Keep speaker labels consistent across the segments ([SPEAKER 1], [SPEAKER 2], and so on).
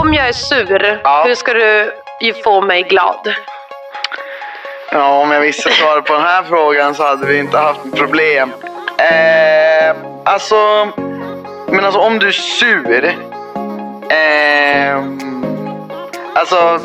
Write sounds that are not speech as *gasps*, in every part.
[SPEAKER 1] Om jag är sur,
[SPEAKER 2] Ja.
[SPEAKER 1] hur ska du ju få mig glad?
[SPEAKER 2] Ja, om jag visste svaret på den här frågan så hade vi inte haft problem. Eh, alltså, men alltså om du är sur. Eh, alltså,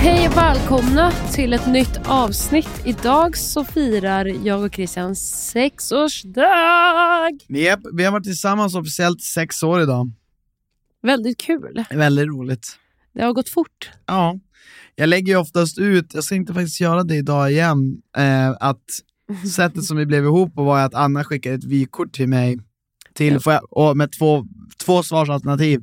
[SPEAKER 3] Hej och välkomna till ett nytt avsnitt. Idag så firar jag och Christian sexårsdag.
[SPEAKER 4] Japp, vi har varit tillsammans officiellt sex år idag.
[SPEAKER 3] Väldigt kul.
[SPEAKER 4] Väldigt roligt.
[SPEAKER 3] Det har gått fort.
[SPEAKER 4] Ja. Jag lägger ju oftast ut, jag ska inte faktiskt göra det idag igen, eh,
[SPEAKER 3] *laughs*
[SPEAKER 4] att sättet som vi blev ihop på var att Anna skickade ett vykort till mig till, får jag, och med två, två svarsalternativ.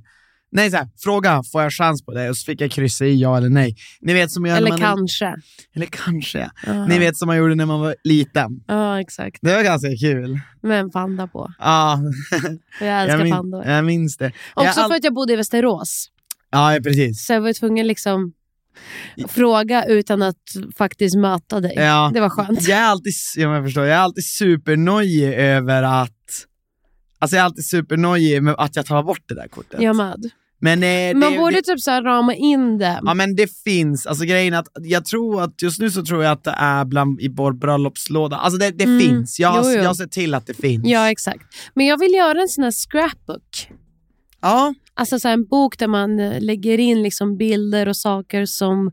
[SPEAKER 4] Nej, så här, fråga, får jag chans på det? Och så fick jag kryssa i ja eller nej. Ni vet som jag
[SPEAKER 3] Eller
[SPEAKER 4] när man,
[SPEAKER 3] kanske.
[SPEAKER 4] Eller kanske.
[SPEAKER 3] Ja.
[SPEAKER 4] Ni vet som man gjorde när man var liten.
[SPEAKER 3] Ja, exakt.
[SPEAKER 4] Det var ganska kul.
[SPEAKER 3] Med en panda på.
[SPEAKER 4] Ja, *laughs*
[SPEAKER 3] Och jag älskar
[SPEAKER 4] jag, min,
[SPEAKER 3] pandor.
[SPEAKER 4] jag minns det. Jag
[SPEAKER 3] Också
[SPEAKER 4] all-
[SPEAKER 3] för att jag bodde i Västerås.
[SPEAKER 4] Ja, precis.
[SPEAKER 3] Så jag var tvungen liksom fråga utan att faktiskt möta dig.
[SPEAKER 4] Ja.
[SPEAKER 3] Det var skönt.
[SPEAKER 4] Jag är alltid, ja, men jag förstår, jag är alltid supernojig över att... Alltså jag är alltid supernojig med att jag tar bort det där kortet.
[SPEAKER 3] Jag med.
[SPEAKER 4] men, eh,
[SPEAKER 3] Man
[SPEAKER 4] det,
[SPEAKER 3] borde
[SPEAKER 4] det,
[SPEAKER 3] typ så här rama in det.
[SPEAKER 4] ja, men det finns. Alltså grejen är att jag tror att just nu så tror jag att det är bland, i vår bröllopslåda. Alltså det, det
[SPEAKER 3] Mm.
[SPEAKER 4] finns. Jag, har-
[SPEAKER 3] Jo, jo.
[SPEAKER 4] jag ser till att det finns.
[SPEAKER 3] Ja, exakt. Men jag vill göra en sån här scrapbook.
[SPEAKER 4] ja.
[SPEAKER 3] Alltså så här, en bok där man eh, lägger in liksom bilder och saker som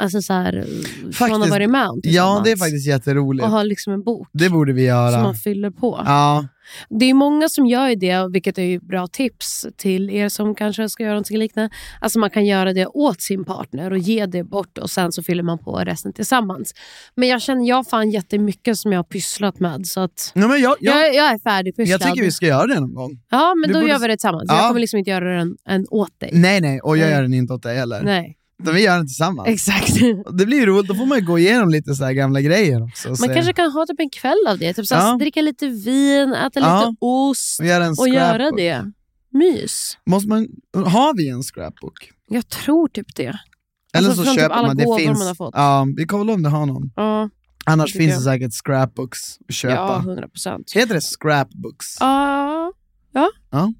[SPEAKER 3] alltså så här, man har
[SPEAKER 4] Faktiskt.
[SPEAKER 3] varit med om
[SPEAKER 4] ja, det är
[SPEAKER 3] tillsammans.
[SPEAKER 4] faktiskt jätteroligt.
[SPEAKER 3] Och ha liksom en bok
[SPEAKER 4] Det borde vi
[SPEAKER 3] som
[SPEAKER 4] göra.
[SPEAKER 3] man fyller på.
[SPEAKER 4] Ja.
[SPEAKER 3] Det är många som gör ju det, vilket är ju bra tips till er som kanske ska göra någonting liknande. Alltså man kan göra det åt sin partner och ge det bort och sen så fyller man på resten tillsammans. Men jag känner, jag har fan jättemycket som jag har pysslat med så att
[SPEAKER 4] Nej, men jag, jag,
[SPEAKER 3] jag, jag är färdigpysslad.
[SPEAKER 4] jag tycker vi ska göra det någon gång.
[SPEAKER 3] Ja, men
[SPEAKER 4] Du
[SPEAKER 3] då
[SPEAKER 4] borde-
[SPEAKER 3] gör vi det tillsammans.
[SPEAKER 4] Ja.
[SPEAKER 3] Jag kommer liksom inte göra den, en åt dig.
[SPEAKER 4] Nej, nej, och jag
[SPEAKER 3] Nej.
[SPEAKER 4] gör den inte åt dig heller.
[SPEAKER 3] Nej.
[SPEAKER 4] Utan vi gör den tillsammans.
[SPEAKER 3] Exakt.
[SPEAKER 4] Det blir ju roligt, då får man ju gå igenom lite så här gamla grejer också. *laughs* och
[SPEAKER 3] Man
[SPEAKER 4] se-
[SPEAKER 3] kanske kan ha typ en kväll av det. Typ så
[SPEAKER 4] Ja.
[SPEAKER 3] Dricka lite vin, äta
[SPEAKER 4] Ja.
[SPEAKER 3] lite ost
[SPEAKER 4] och göra, en
[SPEAKER 3] och göra
[SPEAKER 4] scrapbook.
[SPEAKER 3] det. Mys.
[SPEAKER 4] Måste man, har vi en scrapbook?
[SPEAKER 3] Jag tror typ det.
[SPEAKER 4] Eller
[SPEAKER 3] Alltså,
[SPEAKER 4] så
[SPEAKER 3] från typ
[SPEAKER 4] köper
[SPEAKER 3] alla
[SPEAKER 4] man, det
[SPEAKER 3] gåvor
[SPEAKER 4] finns.
[SPEAKER 3] man har fått.
[SPEAKER 4] Ja, vi kollar om det har någon.
[SPEAKER 3] Ja,
[SPEAKER 4] Annars
[SPEAKER 3] tycker
[SPEAKER 4] finns det säkert scrapbooks att köpa.
[SPEAKER 3] ja 100 procent.
[SPEAKER 4] Heter det scrapbooks?
[SPEAKER 3] Ja. Ja.
[SPEAKER 4] Ja.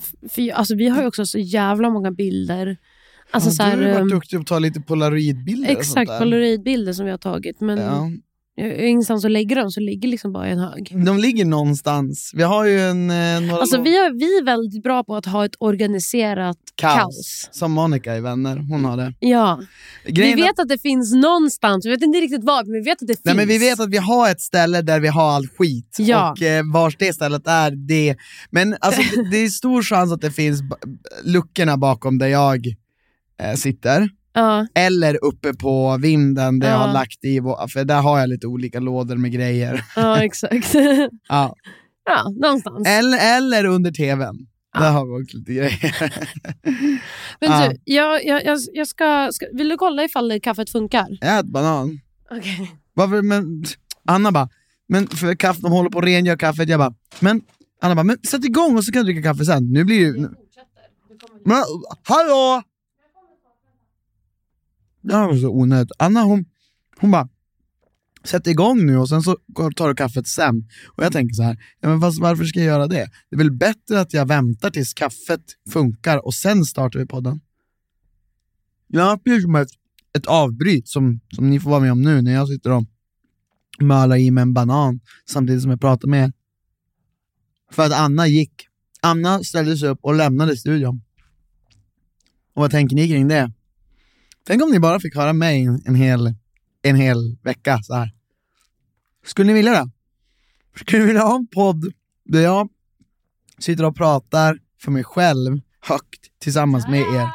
[SPEAKER 3] F- För, alltså, vi har ju också så jävla många bilder. Alltså,
[SPEAKER 4] Ja,
[SPEAKER 3] så här,
[SPEAKER 4] du har ju
[SPEAKER 3] ehm,
[SPEAKER 4] varit duktig på att ta lite polaroidbilder och sånt
[SPEAKER 3] exakt,
[SPEAKER 4] där.
[SPEAKER 3] polaroidbilder som vi har tagit. Men
[SPEAKER 4] Ja.
[SPEAKER 3] jag har ingenstans att lägga dem, så ligger liksom bara i en hög.
[SPEAKER 4] De ligger någonstans. Vi har ju en, eh, några
[SPEAKER 3] Alltså,
[SPEAKER 4] låt-
[SPEAKER 3] vi, har, vi är väldigt bra på att ha ett organiserat kaos.
[SPEAKER 4] Kaos. som Monica i Vänner, hon har det.
[SPEAKER 3] Ja.
[SPEAKER 4] Grejen
[SPEAKER 3] vi
[SPEAKER 4] är-
[SPEAKER 3] vet att det finns någonstans, vi vet inte riktigt var, men vi vet att det finns.
[SPEAKER 4] Nej, men vi vet att vi har ett ställe där vi har all skit.
[SPEAKER 3] Ja.
[SPEAKER 4] Och eh, vars det stället är, det... Men
[SPEAKER 3] *laughs*
[SPEAKER 4] alltså, det, det är stor chans att det finns ba- luckorna bakom där jag eh, sitter.
[SPEAKER 3] Ja,
[SPEAKER 4] Eller uppe på vinden där jag
[SPEAKER 3] Ja.
[SPEAKER 4] har lagt i, vå- för där har jag lite olika lådor med grejer.
[SPEAKER 3] ja exakt. *laughs*
[SPEAKER 4] Ja. Eh,
[SPEAKER 3] ja, någonstans.
[SPEAKER 4] Eller, eller under tvn.
[SPEAKER 3] Ja.
[SPEAKER 4] Där har vi också lite grejer. *laughs*
[SPEAKER 3] Men
[SPEAKER 4] ja.
[SPEAKER 3] du, jag, jag, jag, jag ska, ska... Vill du kolla ifall kaffet funkar?
[SPEAKER 4] Ät banan.
[SPEAKER 3] Okej.
[SPEAKER 4] Varför, men, Anna bara, men för kaffe, de håller på att rengöra kaffet. Jag bara, men Anna bara, men sätt igång och så kan du dricka kaffe sen. Nu blir det ju... Men hallå! Det här var så onödigt. Anna hon, hon bara, sätt igång nu och sen så går- tar du kaffet sen. Och jag tänker så här, ja, men fast varför ska jag göra det? Det är väl bättre att jag väntar tills kaffet funkar och sen startar vi podden. Ja, det är som ett, ett avbryt som, som ni får vara med om nu när jag sitter och mölar i mig en banan samtidigt som jag pratar med er. För att Anna gick. Anna ställde sig upp och lämnade studion. Och vad tänker ni kring det? Tänk om ni bara fick höra mig en, en, hel, en hel vecka så här. Skulle ni vilja det? Skulle ni vilja ha en podd där jag sitter och pratar för mig själv högt tillsammans med er?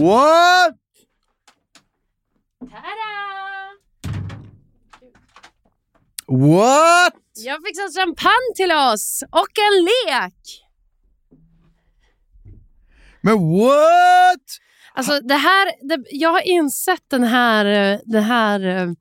[SPEAKER 4] What? What?
[SPEAKER 3] Jag fixar champagne till oss och en lek!
[SPEAKER 4] Men what?
[SPEAKER 3] Alltså det här, det, jag har insett den här, eh, den här eh,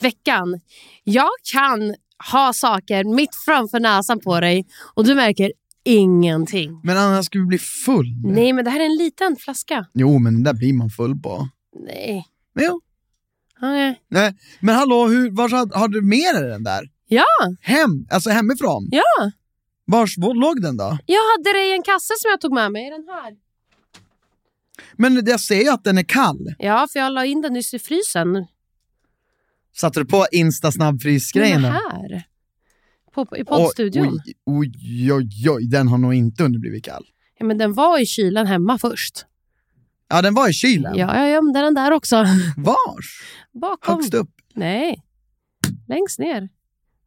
[SPEAKER 3] veckan. Jag kan ha saker mitt framför näsan på dig och du märker ingenting.
[SPEAKER 4] Men Anna, ska vi bli full?
[SPEAKER 3] Nej, men det här är en liten flaska.
[SPEAKER 4] Jo, men den där blir man full på.
[SPEAKER 3] Nej.
[SPEAKER 4] Men jo.
[SPEAKER 3] Okej.
[SPEAKER 4] Nej, men hallå, hur, vars, had- har du med dig den där?
[SPEAKER 3] Ja.
[SPEAKER 4] Hem, alltså hemifrån?
[SPEAKER 3] Ja.
[SPEAKER 4] Vars var låg den då?
[SPEAKER 3] Jag hade det i en kasse som jag tog med mig. Den här.
[SPEAKER 4] Men jag ser ju att den är kall.
[SPEAKER 3] Ja, för jag la in den nyss i frysen.
[SPEAKER 4] Satte du på Insta snabbfrys-grejen?
[SPEAKER 3] Den
[SPEAKER 4] då?
[SPEAKER 3] här. På, I
[SPEAKER 4] Oj,
[SPEAKER 3] poddstudion.
[SPEAKER 4] Oj, oj, oj, oj, den har nog inte hunnit blivit kall.
[SPEAKER 3] Ja, men den var i kylen hemma först.
[SPEAKER 4] Ja, den var i kylen.
[SPEAKER 3] Ja, jag gömde den där också. *laughs*
[SPEAKER 4] Vars?
[SPEAKER 3] Bakom.
[SPEAKER 4] Högst upp?
[SPEAKER 3] Nej. Längst ner.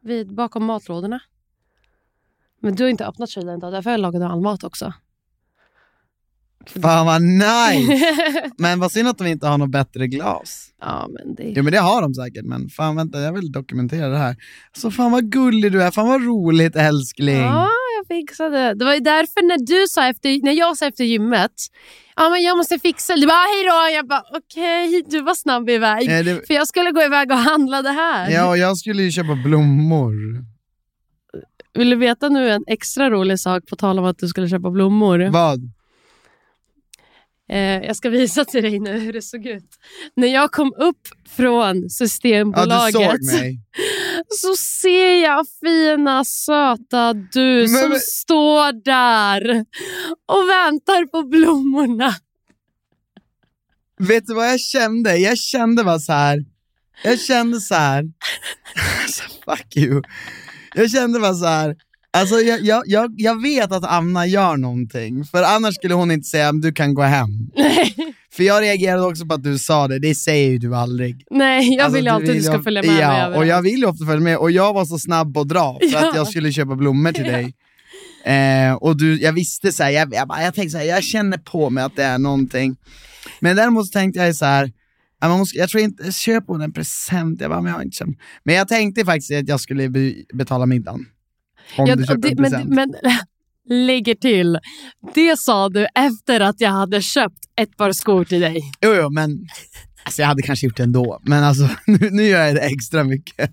[SPEAKER 3] Vid, bakom matlådorna. Men du har inte öppnat kylen idag, därför har jag lagat all mat också.
[SPEAKER 4] Fan vad nice! Men vad synd att de inte har något bättre glas.
[SPEAKER 3] *laughs* ja, men det...
[SPEAKER 4] Jo men det har de säkert, men fan vänta jag vill dokumentera det här. Så fan vad gullig du är, fan vad roligt älskling.
[SPEAKER 3] Ja, jag fixade. Det var ju därför när du sa efter, när jag sa efter gymmet, ja men jag måste fixa, du bara hej då, jag bara okej, du var snabb iväg.
[SPEAKER 4] Eh, det-
[SPEAKER 3] För jag skulle gå iväg och handla det här.
[SPEAKER 4] Ja, och jag skulle ju köpa blommor.
[SPEAKER 3] Vill du veta nu en extra rolig sak på tal om att du skulle köpa blommor?
[SPEAKER 4] Vad?
[SPEAKER 3] Eh, jag ska visa till dig nu hur det såg ut. När jag kom upp från
[SPEAKER 4] Ja, du
[SPEAKER 3] Systembolaget
[SPEAKER 4] såg mig.
[SPEAKER 3] *laughs* så ser jag fina söta du som
[SPEAKER 4] men-
[SPEAKER 3] står där och väntar på blommorna.
[SPEAKER 4] Vet du vad jag kände? Jag kände bara så här. Jag kände så här. *laughs* alltså, fuck you. Jag kände bara så här. Alltså jag, jag, jag, jag vet att Anna gör någonting, för annars skulle hon inte säga du kan gå hem. För jag reagerade också på att du sa det, det säger ju du aldrig.
[SPEAKER 3] Nej, jag
[SPEAKER 4] Alltså,
[SPEAKER 3] vill ju alltid att du ska
[SPEAKER 4] jag-
[SPEAKER 3] följa med
[SPEAKER 4] ja,
[SPEAKER 3] mig
[SPEAKER 4] och jag
[SPEAKER 3] överallt.
[SPEAKER 4] vill ju ofta följa med. Och jag var så snabb att dra för
[SPEAKER 3] Ja.
[SPEAKER 4] att jag skulle köpa
[SPEAKER 3] *laughs*
[SPEAKER 4] blommor till dig. Eh, och du, jag visste så här, jag, jag, bara, jag tänkte så här, jag känner på mig att det är någonting. Men däremot så tänkte jag så här, ja, man måste, jag tror inte, köp hon en present? Jag bara, men jag har inte köpt. Men jag tänkte faktiskt att jag skulle be, betala middagen. Om
[SPEAKER 3] Ja,
[SPEAKER 4] du
[SPEAKER 3] och
[SPEAKER 4] köper en
[SPEAKER 3] det-
[SPEAKER 4] present.
[SPEAKER 3] men, men *laughs* lägger till, det sa du efter att jag hade köpt ett par skor till dig.
[SPEAKER 4] Jo, jo, men alltså, jag hade kanske gjort det ändå. Men alltså, *laughs* nu, nu gör jag det extra mycket.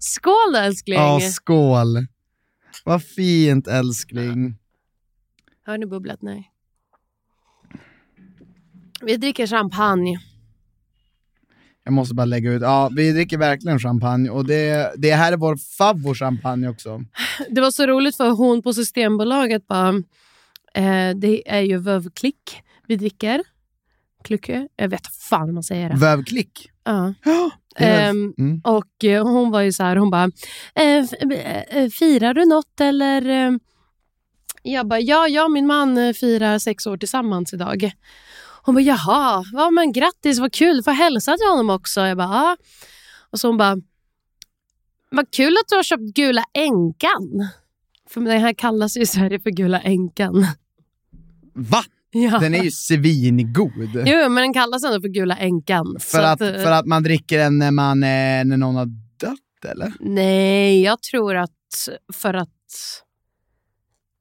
[SPEAKER 3] Skål älskling!
[SPEAKER 4] Ja, skål. Vad fint älskling.
[SPEAKER 3] Har ni bubblat? Nej. Vi dricker champagne.
[SPEAKER 4] Jag måste bara lägga ut. Ja, vi dricker verkligen champagne och det, det här är vår favoritchampagne också.
[SPEAKER 3] Det var så roligt för hon på Systembolaget bara, eh, det är ju vövklick vi dricker. Klucke? Jag vet fan hur man säger det. *gasps*
[SPEAKER 4] Vövklick.
[SPEAKER 3] Ja.
[SPEAKER 4] Det är-
[SPEAKER 3] Ehm,
[SPEAKER 4] Mm.
[SPEAKER 3] Och eh, hon var ju så här, hon bara, eh, f- eh, eh, firar du något eller? eh?" Jag bara, ja, jag och min man eh, firar sex år tillsammans idag. Hon bara, jaha, ja, men grattis, vad kul, får jag hälsa till honom också? Jag bara, ja. Och så hon bara, vad kul att du har köpt Gula Änkan. För den här kallas ju i Sverige för Gula Änkan. *laughs*
[SPEAKER 4] Va?
[SPEAKER 3] Ja.
[SPEAKER 4] Den är
[SPEAKER 3] *laughs*
[SPEAKER 4] ju svingod.
[SPEAKER 3] Jo, men den kallas ändå för Gula Änkan. eh,
[SPEAKER 4] för, att, för att man dricker den när, man, eh, när någon har dött eller?
[SPEAKER 3] Nej, jag tror att för att...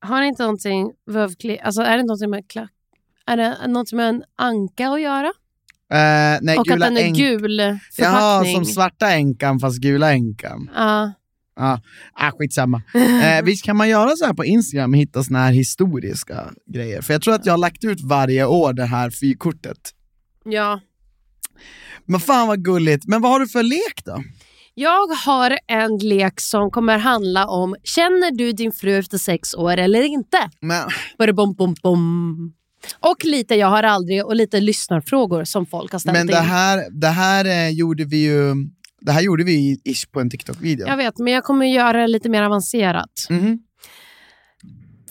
[SPEAKER 3] Har det inte någonting... vövkli- Alltså är det någonting med klack... Är det någonting med en anka att göra?
[SPEAKER 4] Eh, nej,
[SPEAKER 3] Och att
[SPEAKER 4] gula
[SPEAKER 3] den är
[SPEAKER 4] änk-
[SPEAKER 3] gul
[SPEAKER 4] Jaha,
[SPEAKER 3] förpackning.
[SPEAKER 4] som svarta änkan fast gula änkan.
[SPEAKER 3] Ja.
[SPEAKER 4] Ah,
[SPEAKER 3] *laughs*
[SPEAKER 4] skitsamma. Eh, visst kan man göra så här på Instagram och hitta såna här historiska grejer? För jag tror att jag har lagt ut varje år det här fyrkortet.
[SPEAKER 3] ja.
[SPEAKER 4] Men fan vad gulligt. Men vad har du för lek då?
[SPEAKER 3] Jag har en lek som kommer handla om Känner du din fru efter sex år eller inte?
[SPEAKER 4] Men,
[SPEAKER 3] Bara bom, bom, bom. Och lite Jag har aldrig och lite lyssnarfrågor som folk har ställt
[SPEAKER 4] men det
[SPEAKER 3] in.
[SPEAKER 4] här, det här eh, gjorde vi ju det här gjorde vi ish på en TikTok-video.
[SPEAKER 3] Jag vet, men jag kommer göra det lite mer avancerat.
[SPEAKER 4] Mhm.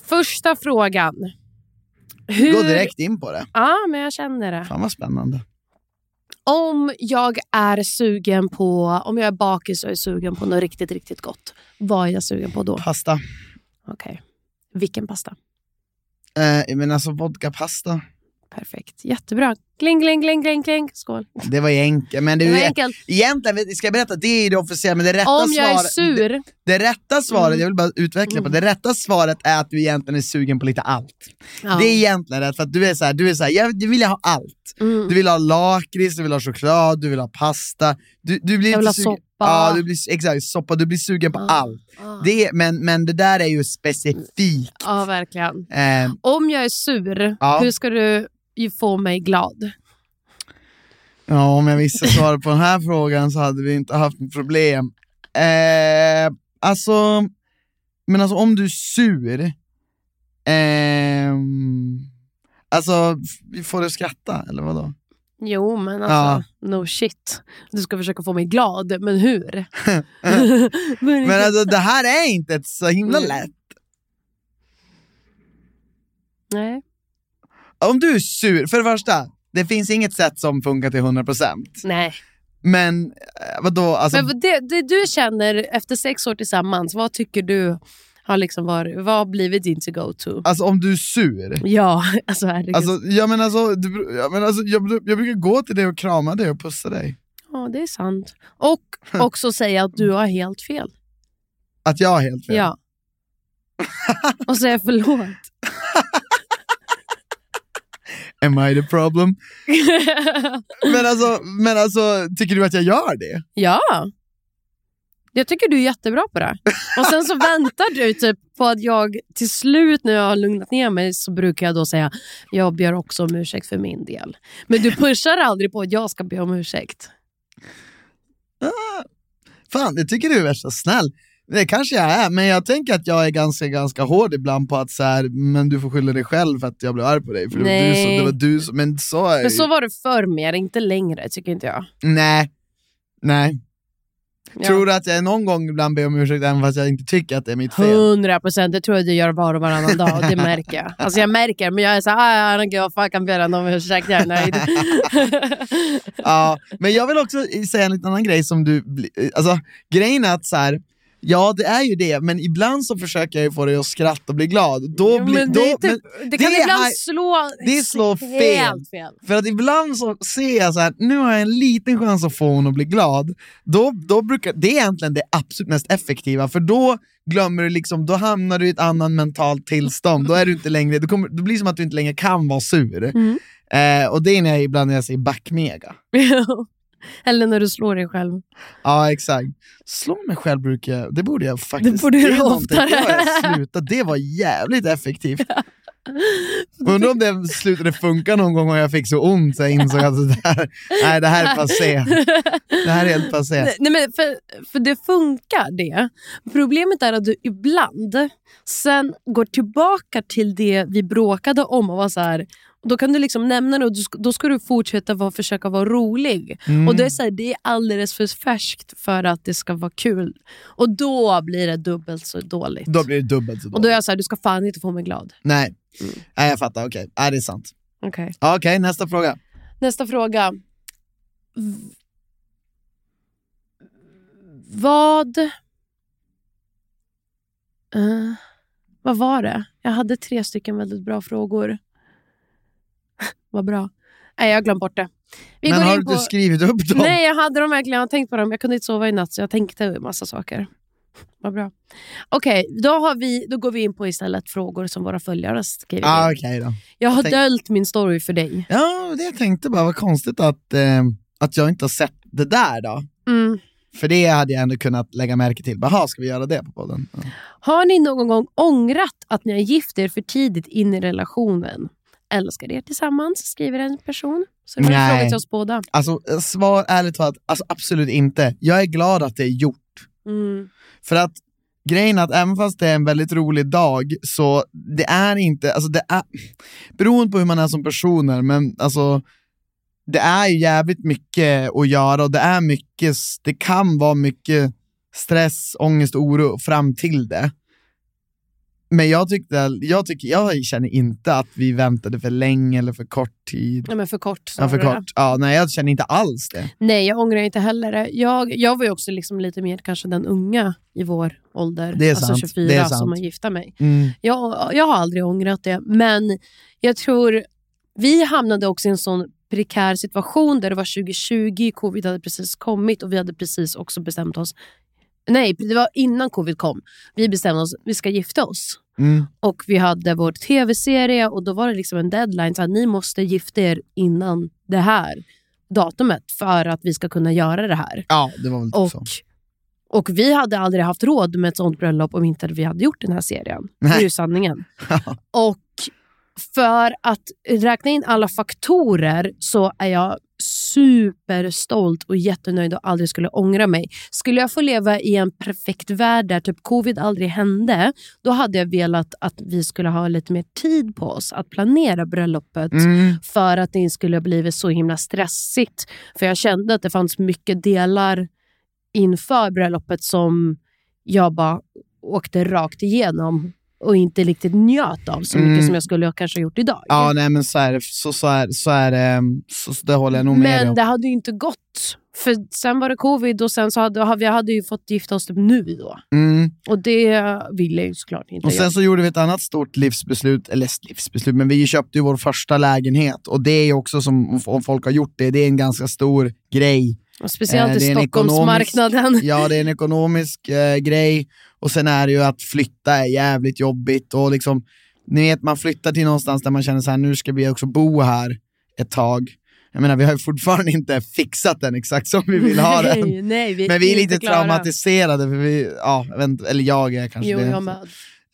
[SPEAKER 3] Första frågan.
[SPEAKER 4] Gå
[SPEAKER 3] Hur...
[SPEAKER 4] direkt in på det.
[SPEAKER 3] Ja, men jag känner det.
[SPEAKER 4] Fan vad spännande.
[SPEAKER 3] Om jag är sugen på, om jag är bakis och är sugen på något riktigt, riktigt gott. Vad är jag sugen på då?
[SPEAKER 4] Pasta.
[SPEAKER 3] Okej. Vilken pasta?
[SPEAKER 4] Eh, men alltså vodkapasta.
[SPEAKER 3] Perfekt. Jättebra. Kling, kling, kling, kling, kling. Skål.
[SPEAKER 4] Det var ju enkelt. Men det
[SPEAKER 3] Det
[SPEAKER 4] är
[SPEAKER 3] var
[SPEAKER 4] ju- e-
[SPEAKER 3] enkelt.
[SPEAKER 4] Egentligen, ska jag berätta, det är ju det officiella, men det rätta
[SPEAKER 3] Om jag är
[SPEAKER 4] svaret- Det,
[SPEAKER 3] sur.
[SPEAKER 4] det rätta svaret,
[SPEAKER 3] Mm.
[SPEAKER 4] jag vill bara utveckla på det, det rätta svaret är att du egentligen är sugen på lite allt.
[SPEAKER 3] Ja.
[SPEAKER 4] Det är egentligen rätt, för att du är såhär, du är såhär, jag du vill ha allt.
[SPEAKER 3] Mm.
[SPEAKER 4] Du vill ha lakrits, du vill ha choklad, du vill ha pasta. Du, du blir
[SPEAKER 3] Jag vill
[SPEAKER 4] inte
[SPEAKER 3] ha
[SPEAKER 4] sugen-
[SPEAKER 3] soppa. Ah.
[SPEAKER 4] Ja, du blir, exakt, soppa, du blir sugen på
[SPEAKER 3] Ja.
[SPEAKER 4] allt.
[SPEAKER 3] Ja.
[SPEAKER 4] Det är, men, men det där är ju specifikt.
[SPEAKER 3] ja, verkligen.
[SPEAKER 4] Eh,
[SPEAKER 3] Om jag är sur,
[SPEAKER 4] Ja.
[SPEAKER 3] hur ska du ju få mig glad?
[SPEAKER 4] Ja, om jag visste svaret på den här frågan så hade vi inte haft något problem. Eh, alltså, men alltså om du är sur, ehm, alltså f- får du skratta eller vadå?
[SPEAKER 3] Jo, men alltså, no shit. Du ska försöka få mig glad, men
[SPEAKER 4] *laughs*
[SPEAKER 3] hur? men,
[SPEAKER 4] Men alltså det här är inte ett så himla
[SPEAKER 3] Mm.
[SPEAKER 4] lätt.
[SPEAKER 3] Nej.
[SPEAKER 4] Om du är sur, för det första, det finns inget sätt som funkar till 100%.
[SPEAKER 3] Nej.
[SPEAKER 4] Men eh, vadå, alltså,
[SPEAKER 3] Men det, det du känner efter sex år tillsammans, vad tycker du har liksom varit, vad har blivit din to go to?
[SPEAKER 4] alltså om du är sur,
[SPEAKER 3] Ja, *laughs* alltså herregud.
[SPEAKER 4] alltså, jag, men alltså, du, jag, men alltså, jag, jag brukar gå till dig och krama dig och pussa dig.
[SPEAKER 3] Ja, det är sant. Och
[SPEAKER 4] *laughs*
[SPEAKER 3] också säga att du har helt fel.
[SPEAKER 4] Att jag har helt fel.
[SPEAKER 3] Ja. Och säga förlåt.
[SPEAKER 4] *laughs*
[SPEAKER 3] *laughs*
[SPEAKER 4] Am I the problem? Men alltså, men alltså, tycker du att jag gör det?
[SPEAKER 3] ja. Jag tycker du är jättebra på det. Och sen så väntar du typ på att jag till slut när jag har lugnat ner mig så brukar jag då säga jag ber också om ursäkt för min del. Men du pushar aldrig på att jag ska be om ursäkt.
[SPEAKER 4] Fan, det tycker du är värsta snäll. Det kanske jag är, men jag tänker att jag är ganska, ganska hård ibland på att så här, men du får skylla dig själv för att jag blev arg på dig. För det var du som,
[SPEAKER 3] Nej.
[SPEAKER 4] det var du som, men så är
[SPEAKER 3] Men
[SPEAKER 4] det
[SPEAKER 3] så
[SPEAKER 4] ju.
[SPEAKER 3] var det förr mer, inte längre tycker inte jag.
[SPEAKER 4] Nej. Nej.
[SPEAKER 3] Ja.
[SPEAKER 4] Tror du att jag någon gång ibland ber om ursäkt även fast jag inte tycker att det är mitt fel?
[SPEAKER 3] 100 procent, det tror jag du gör var och varannan dag. och Det märker jag. Alltså jag märker, men jag är såhär, I don't give a fuck, I'm better om ursäkt, jag är nöjd.
[SPEAKER 4] Ja, men jag vill också säga en liten annan grej som du, bli- alltså grejen är att så här, ja det är ju det, men ibland så försöker jag ju få dig att skratta och bli glad. Då
[SPEAKER 3] Jo,
[SPEAKER 4] blir,
[SPEAKER 3] men
[SPEAKER 4] då,
[SPEAKER 3] det, är
[SPEAKER 4] men-
[SPEAKER 3] typ, det kan
[SPEAKER 4] det är
[SPEAKER 3] ibland
[SPEAKER 4] här-
[SPEAKER 3] slå,
[SPEAKER 4] det slår fel.
[SPEAKER 3] helt fel.
[SPEAKER 4] För att ibland så ser jag så här, nu har jag en liten chans att få hon att bli glad. Då, då brukar, det är egentligen det absolut mest effektiva, för då glömmer du liksom, då hamnar du i ett annat mentalt tillstånd. Då är du inte längre, då kommer, det blir som att du inte längre kan vara sur.
[SPEAKER 3] Mm.
[SPEAKER 4] Eh, och det är när jag, ibland när jag säger backmega.
[SPEAKER 3] *laughs* Eller när du slår dig själv.
[SPEAKER 4] Ja, exakt. Slå mig själv brukar jag, det borde jag faktiskt.
[SPEAKER 3] Det borde du
[SPEAKER 4] är
[SPEAKER 3] göra
[SPEAKER 4] någonting-
[SPEAKER 3] oftare.
[SPEAKER 4] Det har jag slutat, det var jävligt effektivt. Undrar om det slutade funka någon gång och jag fick så ont så jag insåg att det där, nej det här är passé. Det här är helt passé.
[SPEAKER 3] Nej, men för, för det funkar det. Problemet är att du ibland sen går tillbaka till det vi bråkade om och var så här, och då kan du liksom nämna det och du, sk- då ska du fortsätta vara, försöka vara rolig.
[SPEAKER 4] Mm.
[SPEAKER 3] Och det är, så här, det är alldeles för färskt för att det ska vara kul. Och då blir det dubbelt så dåligt.
[SPEAKER 4] Då blir det dubbelt så
[SPEAKER 3] och då är
[SPEAKER 4] dåligt.
[SPEAKER 3] jag så här, du ska fan inte få mig glad.
[SPEAKER 4] Nej. nej, jag fattar. Okej, nej det är sant.
[SPEAKER 3] Okej.
[SPEAKER 4] Ja, Okej, nästa fråga.
[SPEAKER 3] Nästa fråga. V- Vad... Eh, vad var det? Jag hade tre stycken väldigt bra frågor. *laughs* vad bra. Nej, jag har glömt bort det. Vi
[SPEAKER 4] Men
[SPEAKER 3] går
[SPEAKER 4] har
[SPEAKER 3] in
[SPEAKER 4] du
[SPEAKER 3] på...
[SPEAKER 4] inte skrivit upp dem?
[SPEAKER 3] Nej, jag hade dem verkligen. Jag har tänkt på dem. Jag kunde inte sova i natt, så jag tänkte en massa saker. *laughs* Vad bra. Okej, då, har vi, då går vi in på istället frågor som våra följare har skrivit in.
[SPEAKER 4] Ah, Okej då.
[SPEAKER 3] Jag har
[SPEAKER 4] tänk-
[SPEAKER 3] döljt min story för dig.
[SPEAKER 4] Ja, det jag tänkte bara, vad konstigt att, eh, att jag inte har sett det där då.
[SPEAKER 3] Mm.
[SPEAKER 4] För det hade jag ändå kunnat lägga märke till. Jaha, ska vi göra det på podden? Ja.
[SPEAKER 3] Har ni någon gång ångrat att ni har gift er för tidigt in i relationen? Älskar er tillsammans, skriver en person. Så det var en
[SPEAKER 4] Nej.
[SPEAKER 3] fråga till oss båda.
[SPEAKER 4] Alltså, eh, svar ärligt talat, alltså, absolut inte. Jag är glad att det är gjort.
[SPEAKER 3] Mm.
[SPEAKER 4] För att grejen är att även fast det är en väldigt rolig dag så det är inte, alltså det är, beroende på hur man är som personer, men alltså det är ju jävligt mycket att göra och det är mycket, s- det kan vara mycket stress, ångest och oro fram till det. Men jag tyckte, jag tycker, jag känner inte att vi väntade för länge eller för kort tid.
[SPEAKER 3] Ja, men för kort.
[SPEAKER 4] Ja, för
[SPEAKER 3] snarare.
[SPEAKER 4] kort. Ja, nej, jag känner inte alls det.
[SPEAKER 3] Nej, jag ångrar inte heller det. Jag, jag var ju också liksom lite mer kanske den unga i vår ålder.
[SPEAKER 4] Det är
[SPEAKER 3] alltså
[SPEAKER 4] sant,
[SPEAKER 3] 24
[SPEAKER 4] det är
[SPEAKER 3] som
[SPEAKER 4] sant.
[SPEAKER 3] har gifta mig.
[SPEAKER 4] Mm.
[SPEAKER 3] Jag, jag har aldrig ångrat det, men jag tror vi hamnade också i en sån prekär situation där det var 2020, covid hade precis kommit och vi hade precis också bestämt oss. Nej, det var innan covid kom. Vi bestämde oss, vi ska gifta oss.
[SPEAKER 4] Mm.
[SPEAKER 3] Och vi hade vår tv-serie och då var det liksom en deadline. Så att ni måste gifta er innan det här datumet för att vi ska kunna göra det här.
[SPEAKER 4] Ja, det var väl typ
[SPEAKER 3] Och,
[SPEAKER 4] så.
[SPEAKER 3] och vi hade aldrig haft råd med ett sånt bröllop om inte vi hade gjort den här serien. Det är ju sanningen. och för att räkna in alla faktorer så är jag superstolt och jättenöjd och aldrig skulle ångra mig. Skulle jag få leva i en perfekt värld där typ covid aldrig hände, då hade jag velat att vi skulle ha lite mer tid på oss att planera bröllopet
[SPEAKER 4] Mm.
[SPEAKER 3] för att det inte skulle ha blivit så himla stressigt. För jag kände att det fanns mycket delar inför bröllopet som jag bara åkte rakt igenom och inte riktigt njöt av så mycket
[SPEAKER 4] Mm.
[SPEAKER 3] som jag skulle ha kanske gjort idag.
[SPEAKER 4] Ja, nej men så är det. Så, så är, så är det. Så, så det håller jag nog med dig
[SPEAKER 3] Men
[SPEAKER 4] om.
[SPEAKER 3] det hade ju inte gått. För sen var det covid och sen så hade vi hade ju fått gifta oss typ nu då.
[SPEAKER 4] Mm.
[SPEAKER 3] Och det ville jag ju såklart inte
[SPEAKER 4] Och sen
[SPEAKER 3] göra.
[SPEAKER 4] så gjorde vi ett annat stort livsbeslut, eller livsbeslut, men vi köpte ju vår första lägenhet och det är ju också som om- om folk har gjort det, det är en ganska stor grej.
[SPEAKER 3] Och speciellt
[SPEAKER 4] eh,
[SPEAKER 3] i
[SPEAKER 4] det är en ekonomisk-
[SPEAKER 3] Stockholmsmarknaden.
[SPEAKER 4] *laughs* Ja, det är en ekonomisk eh, grej och sen är det ju att flytta är jävligt jobbigt och liksom, ni vet man flyttar till någonstans där man känner så här, nu ska vi också bo här ett tag. Jag menar, vi har ju fortfarande inte fixat den exakt som vi
[SPEAKER 3] *laughs*
[SPEAKER 4] vill ha den.
[SPEAKER 3] nej, nej, vi
[SPEAKER 4] Men vi är
[SPEAKER 3] inte
[SPEAKER 4] lite
[SPEAKER 3] klara.
[SPEAKER 4] traumatiserade, för vi, ja, jag vet inte, eller jag är kanske
[SPEAKER 3] Jo,
[SPEAKER 4] det.
[SPEAKER 3] jag med.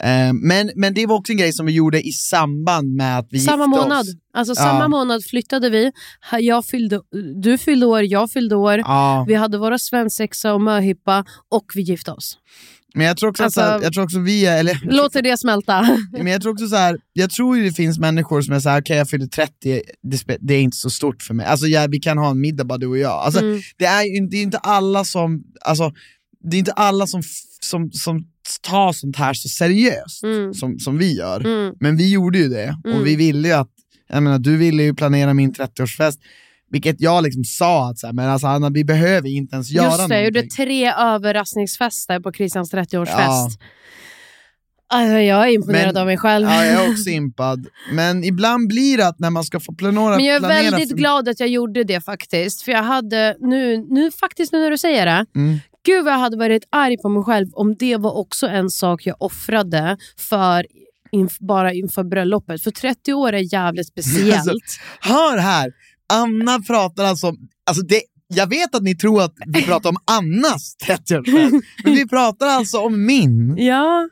[SPEAKER 4] Eh, men, men det var också en grej som vi gjorde i samband med att vi
[SPEAKER 3] samma
[SPEAKER 4] gifte
[SPEAKER 3] månad.
[SPEAKER 4] oss.
[SPEAKER 3] Alltså samma
[SPEAKER 4] Ja.
[SPEAKER 3] månad flyttade vi. Ha- Jag fyllde, du fyllde år, jag fyllde år.
[SPEAKER 4] Ja,
[SPEAKER 3] Vi hade våra svensexa och möhippa och vi gifte oss.
[SPEAKER 4] men jag tror också,
[SPEAKER 3] Alltså-
[SPEAKER 4] så här, jag tror också vi är, eller
[SPEAKER 3] Låter det smälta?
[SPEAKER 4] men jag tror också så här, jag tror ju det finns människor som är så här, okej jag fyller 30, det, spe- det är inte så stort för mig. Alltså ja, vi kan ha en middag bara du och jag. Alltså,
[SPEAKER 3] Mm.
[SPEAKER 4] det, är ju, det är ju inte alla som, alltså, det är inte alla som, f- som, som tar sånt här så seriöst
[SPEAKER 3] Mm.
[SPEAKER 4] som, som vi gör.
[SPEAKER 3] Mm.
[SPEAKER 4] Men vi gjorde ju det och
[SPEAKER 3] Mm.
[SPEAKER 4] vi ville ju att, jag menar du ville ju planera min 30-årsfest, vilket jag liksom sa att så här, men alltså Anna vi behöver inte ens göra
[SPEAKER 3] *laughs* Just det, jag gjorde
[SPEAKER 4] någonting.
[SPEAKER 3] tre överraskningsfester på Christians 30-årsfest.
[SPEAKER 4] Ja.
[SPEAKER 3] Alltså, jag är imponerad
[SPEAKER 4] Men-
[SPEAKER 3] av mig själv.
[SPEAKER 4] Ja, jag är också impad. Men ibland blir det att när man ska få planera...
[SPEAKER 3] Men jag är
[SPEAKER 4] planera
[SPEAKER 3] väldigt
[SPEAKER 4] för-
[SPEAKER 3] glad att jag gjorde det faktiskt. För jag hade, nu, nu faktiskt nu när du säger det,
[SPEAKER 4] Mm.
[SPEAKER 3] gud vad jag hade varit arg på mig själv om det var också en sak jag offrade för inf- bara inför bröllopet. För 30 år är
[SPEAKER 4] *laughs*
[SPEAKER 3] jävligt speciellt.
[SPEAKER 4] Alltså, hör här, Anna pratar alltså om... Alltså det, jag vet att ni tror att vi pratar om Annas 30-årsfest, men vi pratar alltså om min.
[SPEAKER 3] Ja,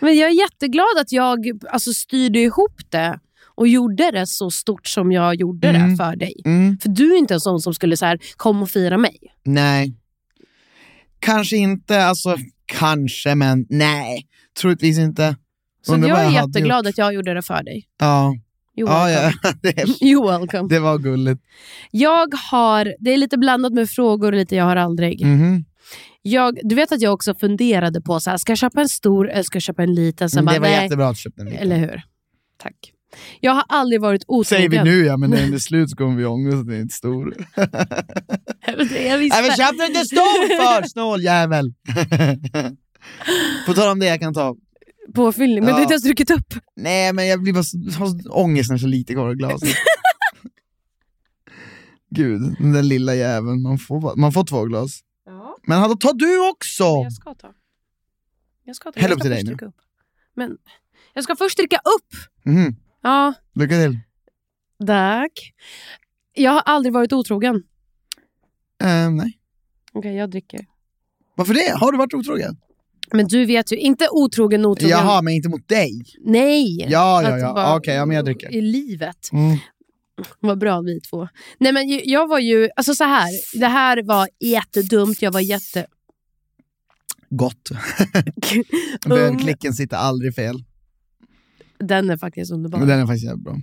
[SPEAKER 3] men jag är jätteglad att jag alltså, styrde ihop det och gjorde det så stort som jag gjorde det
[SPEAKER 4] Mm.
[SPEAKER 3] för dig.
[SPEAKER 4] Mm.
[SPEAKER 3] För du är inte en sån som skulle så här, kom och fira mig.
[SPEAKER 4] Nej. Kanske inte, alltså kanske, men nej. Troligtvis inte.
[SPEAKER 3] Så
[SPEAKER 4] Undrar
[SPEAKER 3] jag
[SPEAKER 4] vad
[SPEAKER 3] är
[SPEAKER 4] jag hade
[SPEAKER 3] jätteglad att jag gjorde det för dig.
[SPEAKER 4] Ja,
[SPEAKER 3] You're
[SPEAKER 4] ja,
[SPEAKER 3] welcome.
[SPEAKER 4] ja. *laughs* Det,
[SPEAKER 3] You're welcome. *laughs*
[SPEAKER 4] det var gulligt.
[SPEAKER 3] Jag har, det är lite blandat med frågor och lite jag har aldrig.
[SPEAKER 4] Mhm.
[SPEAKER 3] Jag, du vet att jag också funderade på, så här, ska jag köpa en stor eller ska jag köpa en liten? Sen
[SPEAKER 4] Men
[SPEAKER 3] bara,
[SPEAKER 4] Mm, det var
[SPEAKER 3] nej.
[SPEAKER 4] jättebra att du köpte en liten.
[SPEAKER 3] Eller hur? Tack. Jag har aldrig varit otrogen.
[SPEAKER 4] Säger vi nu ja, men när den är slut så kommer vi ångra att den är inte stor.
[SPEAKER 3] *laughs* jag visste.
[SPEAKER 4] Nej men köp den inte stor för, snåljävel! På tal om det, jag kan ta.
[SPEAKER 3] Påfyllning, men du har
[SPEAKER 4] Ja.
[SPEAKER 3] inte ens druckit upp.
[SPEAKER 4] Nej men jag blir bara så, har så ångest när det är så lite kvar i glaset. Gud, den där lilla jäveln. Man får, bara- man får två glas. Men hallå, ta du också!
[SPEAKER 3] Jag ska ta. Jag ska inte.
[SPEAKER 4] Häll
[SPEAKER 3] jag
[SPEAKER 4] upp
[SPEAKER 3] ska
[SPEAKER 4] till dig
[SPEAKER 3] först
[SPEAKER 4] nu.
[SPEAKER 3] dricka upp. Men jag ska först dricka upp!
[SPEAKER 4] Mhm.
[SPEAKER 3] Ja,
[SPEAKER 4] Lycka till.
[SPEAKER 3] tack. Jag har aldrig varit otrogen.
[SPEAKER 4] Eh, nej.
[SPEAKER 3] Okej, jag dricker.
[SPEAKER 4] Varför det? Har du varit otrogen?
[SPEAKER 3] Men du vet ju, inte otrogen, otrogen.
[SPEAKER 4] Jaha, men inte mot dig.
[SPEAKER 3] Nej!
[SPEAKER 4] Ja, ja,
[SPEAKER 3] Att
[SPEAKER 4] ja.
[SPEAKER 3] bara-
[SPEAKER 4] Okej, ja, men jag dricker.
[SPEAKER 3] I livet.
[SPEAKER 4] Mm.
[SPEAKER 3] Vad bra vi två. Nej men ju- jag var ju, alltså så här. Det här var jättedumt, jag var
[SPEAKER 4] *laughs*
[SPEAKER 3] jätte...
[SPEAKER 4] Gott.
[SPEAKER 3] Um.
[SPEAKER 4] Bönklicken sitter aldrig fel.
[SPEAKER 3] Den är faktiskt underbar.
[SPEAKER 4] Men den är faktiskt jävligt bra.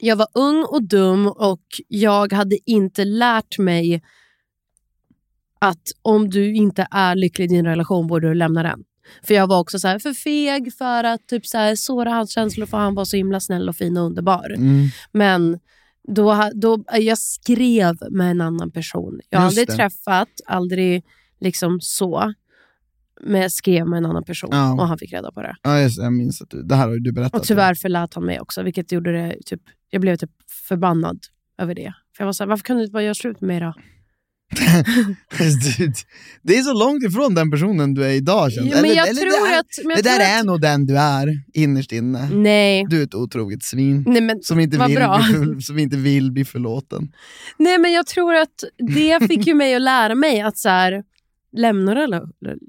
[SPEAKER 3] Jag var ung och dum och jag hade inte lärt mig att om du inte är lycklig i din relation borde du lämna den. För jag var också så här för feg för att typ så här, såra hans känslor för han var så himla snäll och fin och underbar.
[SPEAKER 4] Mm.
[SPEAKER 3] Men då, ha- då, jag skrev med en annan person. Jag har
[SPEAKER 4] Just
[SPEAKER 3] aldrig
[SPEAKER 4] det.
[SPEAKER 3] träffat, aldrig liksom så. Men jag skrev med en annan person
[SPEAKER 4] Ja.
[SPEAKER 3] och han fick reda på det.
[SPEAKER 4] Ja, just, det. jag minns att du, det här har ju du berättat.
[SPEAKER 3] Och tyvärr förlät han mig också, vilket gjorde det typ, jag blev typ förbannad över det. För jag var så här, varför kunde du inte bara göra slut med mig då?
[SPEAKER 4] Alltså, Du- *laughs* det är så långt ifrån den personen du är idag. känns det.
[SPEAKER 3] men jag
[SPEAKER 4] det
[SPEAKER 3] tror
[SPEAKER 4] är-
[SPEAKER 3] att... Men jag
[SPEAKER 4] det där
[SPEAKER 3] tror
[SPEAKER 4] är
[SPEAKER 3] att,
[SPEAKER 4] nog den du är, innerst inne.
[SPEAKER 3] Nej.
[SPEAKER 4] Du är ett otroget svin.
[SPEAKER 3] Nej men,
[SPEAKER 4] Som inte,
[SPEAKER 3] Vad
[SPEAKER 4] vill
[SPEAKER 3] bra.
[SPEAKER 4] bli, som inte vill bli förlåten.
[SPEAKER 3] nej men jag tror att det fick ju mig att lära mig att så här, lämna rela-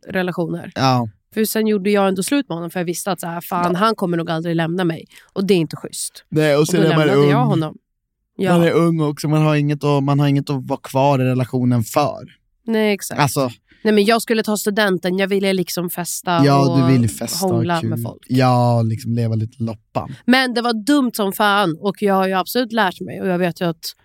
[SPEAKER 3] relationer.
[SPEAKER 4] Ja.
[SPEAKER 3] För sen gjorde jag ändå slut med honom för jag visste att så här, fan, han kommer nog aldrig lämna mig. Och det är inte schysst.
[SPEAKER 4] Nej, och
[SPEAKER 3] Och då
[SPEAKER 4] sen är man
[SPEAKER 3] lämnade
[SPEAKER 4] ung.
[SPEAKER 3] jag honom.
[SPEAKER 4] Man är
[SPEAKER 3] Ja,
[SPEAKER 4] ung också, man har, inget att, man har inget att vara kvar i relationen för.
[SPEAKER 3] nej exakt.
[SPEAKER 4] Alltså,
[SPEAKER 3] Nej, men jag skulle ta studenten, jag ville liksom festa
[SPEAKER 4] ja,
[SPEAKER 3] och
[SPEAKER 4] du vill festa och
[SPEAKER 3] hångla
[SPEAKER 4] kul.
[SPEAKER 3] med folk.
[SPEAKER 4] Ja, liksom leva lite loppan.
[SPEAKER 3] Men det var dumt som fan och jag har ju absolut lärt mig och jag vet ju att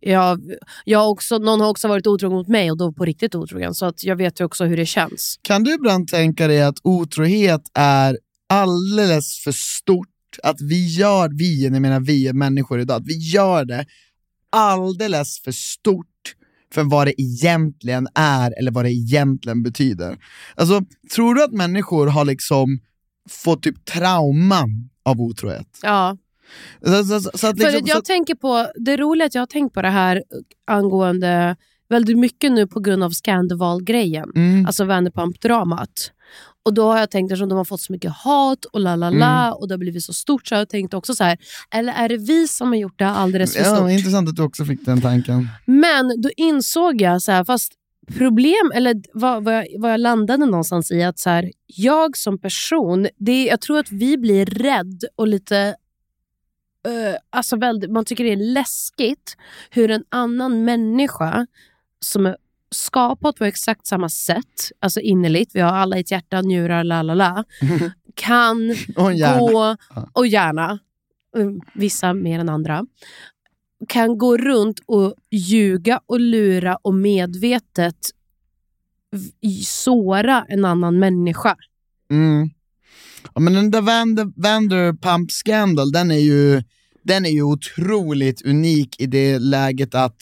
[SPEAKER 3] jag, jag har också, någon har också varit otrogen mot mig och då på riktigt otrogen så att jag vet ju också hur det känns.
[SPEAKER 4] Kan du ibland tänka dig att otrohet är alldeles för stort? Att vi gör, vi, jag menar vi är människor idag, att vi gör det alldeles för stort för vad det egentligen är eller vad det egentligen betyder. Alltså, tror du att människor har liksom fått typ trauman av otrohet?
[SPEAKER 3] Ja.
[SPEAKER 4] Så, så, så, så att liksom,
[SPEAKER 3] För att jag
[SPEAKER 4] så, att-
[SPEAKER 3] tänker på, det är roligt att jag har tänkt på det här angående väldigt mycket nu på grund av Scandival-grejen.
[SPEAKER 4] mm,
[SPEAKER 3] Alltså Vanderpump-dramat. Och då har jag tänkt, eftersom de har fått så mycket hat och la la
[SPEAKER 4] Mm.
[SPEAKER 3] la och det har blivit så stort så har jag tänkt också så här, eller är det vi som har gjort det alldeles för
[SPEAKER 4] ja,
[SPEAKER 3] stort?
[SPEAKER 4] intressant att du också fick den tanken.
[SPEAKER 3] Men då insåg jag, så här, fast problem, eller vad, vad, jag, vad jag landade någonstans i, att så här, jag som person, det, är- jag tror att vi blir rädd och lite eh, alltså väldigt, man tycker det är läskigt hur en annan människa som är skapad på exakt samma sätt, alltså innerligt, vi har alla ett hjärta, njurar, la la la, kan
[SPEAKER 4] Och en hjärna.
[SPEAKER 3] gå
[SPEAKER 4] Ja.
[SPEAKER 3] och gärna, mm, vissa mer än andra, kan gå runt och ljuga och lura och medvetet v- såra en annan människa.
[SPEAKER 4] Mm. Ja, men den där Vander, Vanderpump Scandal, den är, ju, den är ju otroligt unik i det läget att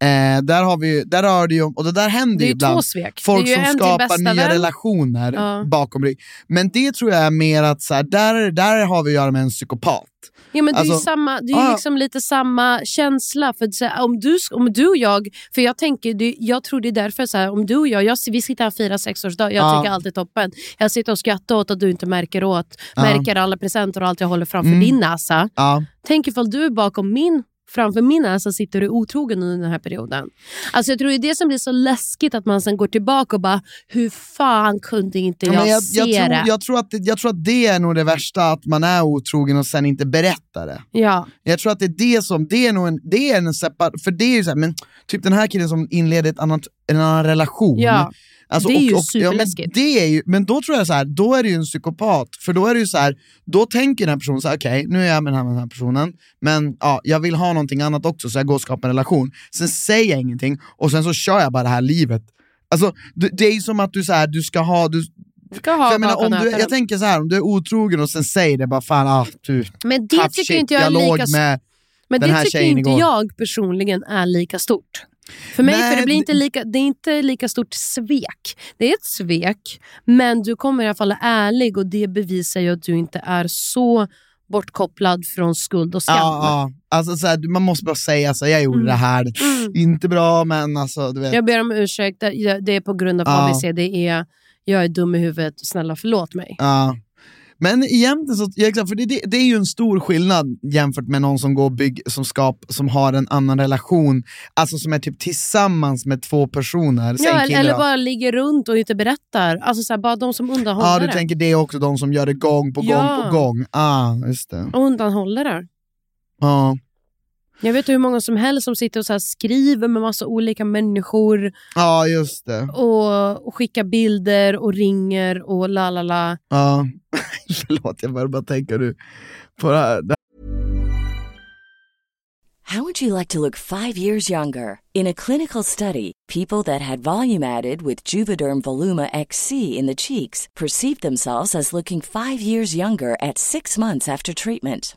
[SPEAKER 4] eh, där har vi ju- där har det ju, och det där händer
[SPEAKER 3] Det är
[SPEAKER 4] ju
[SPEAKER 3] ju två
[SPEAKER 4] ibland.
[SPEAKER 3] svek.
[SPEAKER 4] Folk
[SPEAKER 3] det är ju
[SPEAKER 4] som
[SPEAKER 3] en till
[SPEAKER 4] skapar
[SPEAKER 3] bästa
[SPEAKER 4] nya
[SPEAKER 3] vän.
[SPEAKER 4] relationer
[SPEAKER 3] Ja.
[SPEAKER 4] bakom rygg. Men det tror jag är mer att så här, där, där har vi att göra med en psykopat.
[SPEAKER 3] Ja, men det är ju,
[SPEAKER 4] Alltså,
[SPEAKER 3] samma, det är ju
[SPEAKER 4] ja.
[SPEAKER 3] liksom lite samma känsla. För att, så här, om, du, om du och jag, för jag tänker, det, jag tror det är därför, så här, om du och jag, jag vi sitter här och firar sexårsdag, jag
[SPEAKER 4] Ja.
[SPEAKER 3] tycker allt är toppen. Jag sitter och skrattar åt att du inte märker åt,
[SPEAKER 4] Ja.
[SPEAKER 3] märker alla presenter och allt jag håller framför
[SPEAKER 4] Ah. Mm.
[SPEAKER 3] din näsa.
[SPEAKER 4] Ja.
[SPEAKER 3] Tänk ifall du bakom min, framför min näsa sitter du otrogen under den här perioden. Alltså jag tror det är det som blir så läskigt att man sen går tillbaka och bara, hur fan kunde inte
[SPEAKER 4] Ja,
[SPEAKER 3] jag,
[SPEAKER 4] men jag,
[SPEAKER 3] se
[SPEAKER 4] jag,
[SPEAKER 3] det?
[SPEAKER 4] tror, jag, tror att det, jag tror att det är nog det värsta, att man är otrogen och sen inte berättar det.
[SPEAKER 3] ja.
[SPEAKER 4] Jag tror att det är det som, det är nog en, det är en separ, för det är ju så här, men typ den här killen som inleder ett annat, en annan relation. Alltså,
[SPEAKER 3] Ja. Det är ju
[SPEAKER 4] men,
[SPEAKER 3] superläskigt.
[SPEAKER 4] det är ju, men då tror jag så här, då är det ju en psykopat, för då är det ju så här, då tänker den här personen så här, okej, nu är jag med den här, med den här personen, men ja, jag vill ha någonting annat också, så jag går och skapar en relation. Sen säger jag ingenting, och sen så kör jag bara det här livet. Alltså, det, det är ju som att du så här, du ska ha, du,
[SPEAKER 3] Ska ha
[SPEAKER 4] för jag, menar,
[SPEAKER 3] bakom
[SPEAKER 4] om du,
[SPEAKER 3] ögonen.
[SPEAKER 4] jag tänker så här, om du är otrogen och sen säger det bara fan, ah, du,
[SPEAKER 3] Men det
[SPEAKER 4] tough
[SPEAKER 3] tycker
[SPEAKER 4] shit,
[SPEAKER 3] inte jag är
[SPEAKER 4] låg
[SPEAKER 3] lika
[SPEAKER 4] med
[SPEAKER 3] Men
[SPEAKER 4] den
[SPEAKER 3] det
[SPEAKER 4] här
[SPEAKER 3] tycker
[SPEAKER 4] tjejen
[SPEAKER 3] inte
[SPEAKER 4] igår.
[SPEAKER 3] jag personligen är lika stort. För mig
[SPEAKER 4] Nej,
[SPEAKER 3] för det blir
[SPEAKER 4] det-
[SPEAKER 3] inte lika, det är inte lika stort svek. Det är ett svek, men du kommer i alla fall vara ärlig och det bevisar ju att du inte är så bortkopplad från skuld och skam.
[SPEAKER 4] Ja, ja. Alltså, så här, du- man måste bara säga så här, jag gjorde
[SPEAKER 3] Mm.
[SPEAKER 4] det här,
[SPEAKER 3] Mm.
[SPEAKER 4] inte bra men alltså du vet.
[SPEAKER 3] Jag ber om ursäkt, det- det är på grund av
[SPEAKER 4] Ja.
[SPEAKER 3] ABC. Det är, jag är dum i huvudet, snälla förlåt mig.
[SPEAKER 4] Ja. Men egentligen så, ja, exakt, för det, det, det är ju en stor skillnad jämfört med någon som går och bygg, som skap, som har en annan relation, alltså som är typ tillsammans med två personer. Säg
[SPEAKER 3] Ja, eller,
[SPEAKER 4] killar
[SPEAKER 3] eller
[SPEAKER 4] då.
[SPEAKER 3] bara ligger runt och inte berättar. Alltså så här, bara de som
[SPEAKER 4] Ja,
[SPEAKER 3] undanhåller
[SPEAKER 4] du tänker det är också de som gör det gång på gång
[SPEAKER 3] Ja.
[SPEAKER 4] på gång. Ah, just det.
[SPEAKER 3] det. Undanhåller det.
[SPEAKER 4] Ja.
[SPEAKER 3] Jag vet hur många som helst som sitter och så här skriver med massa olika människor
[SPEAKER 4] Ja, just det.
[SPEAKER 3] och, och skickar bilder och ringer och la la la.
[SPEAKER 4] Ja. *laughs* Förlåt, jag började bara tänka du, på det här. Det
[SPEAKER 5] How would you like to look five years younger? In a clinical study, people that had volume added with Juvederm Voluma XC in the cheeks perceived themselves as looking five years younger at six months after treatment.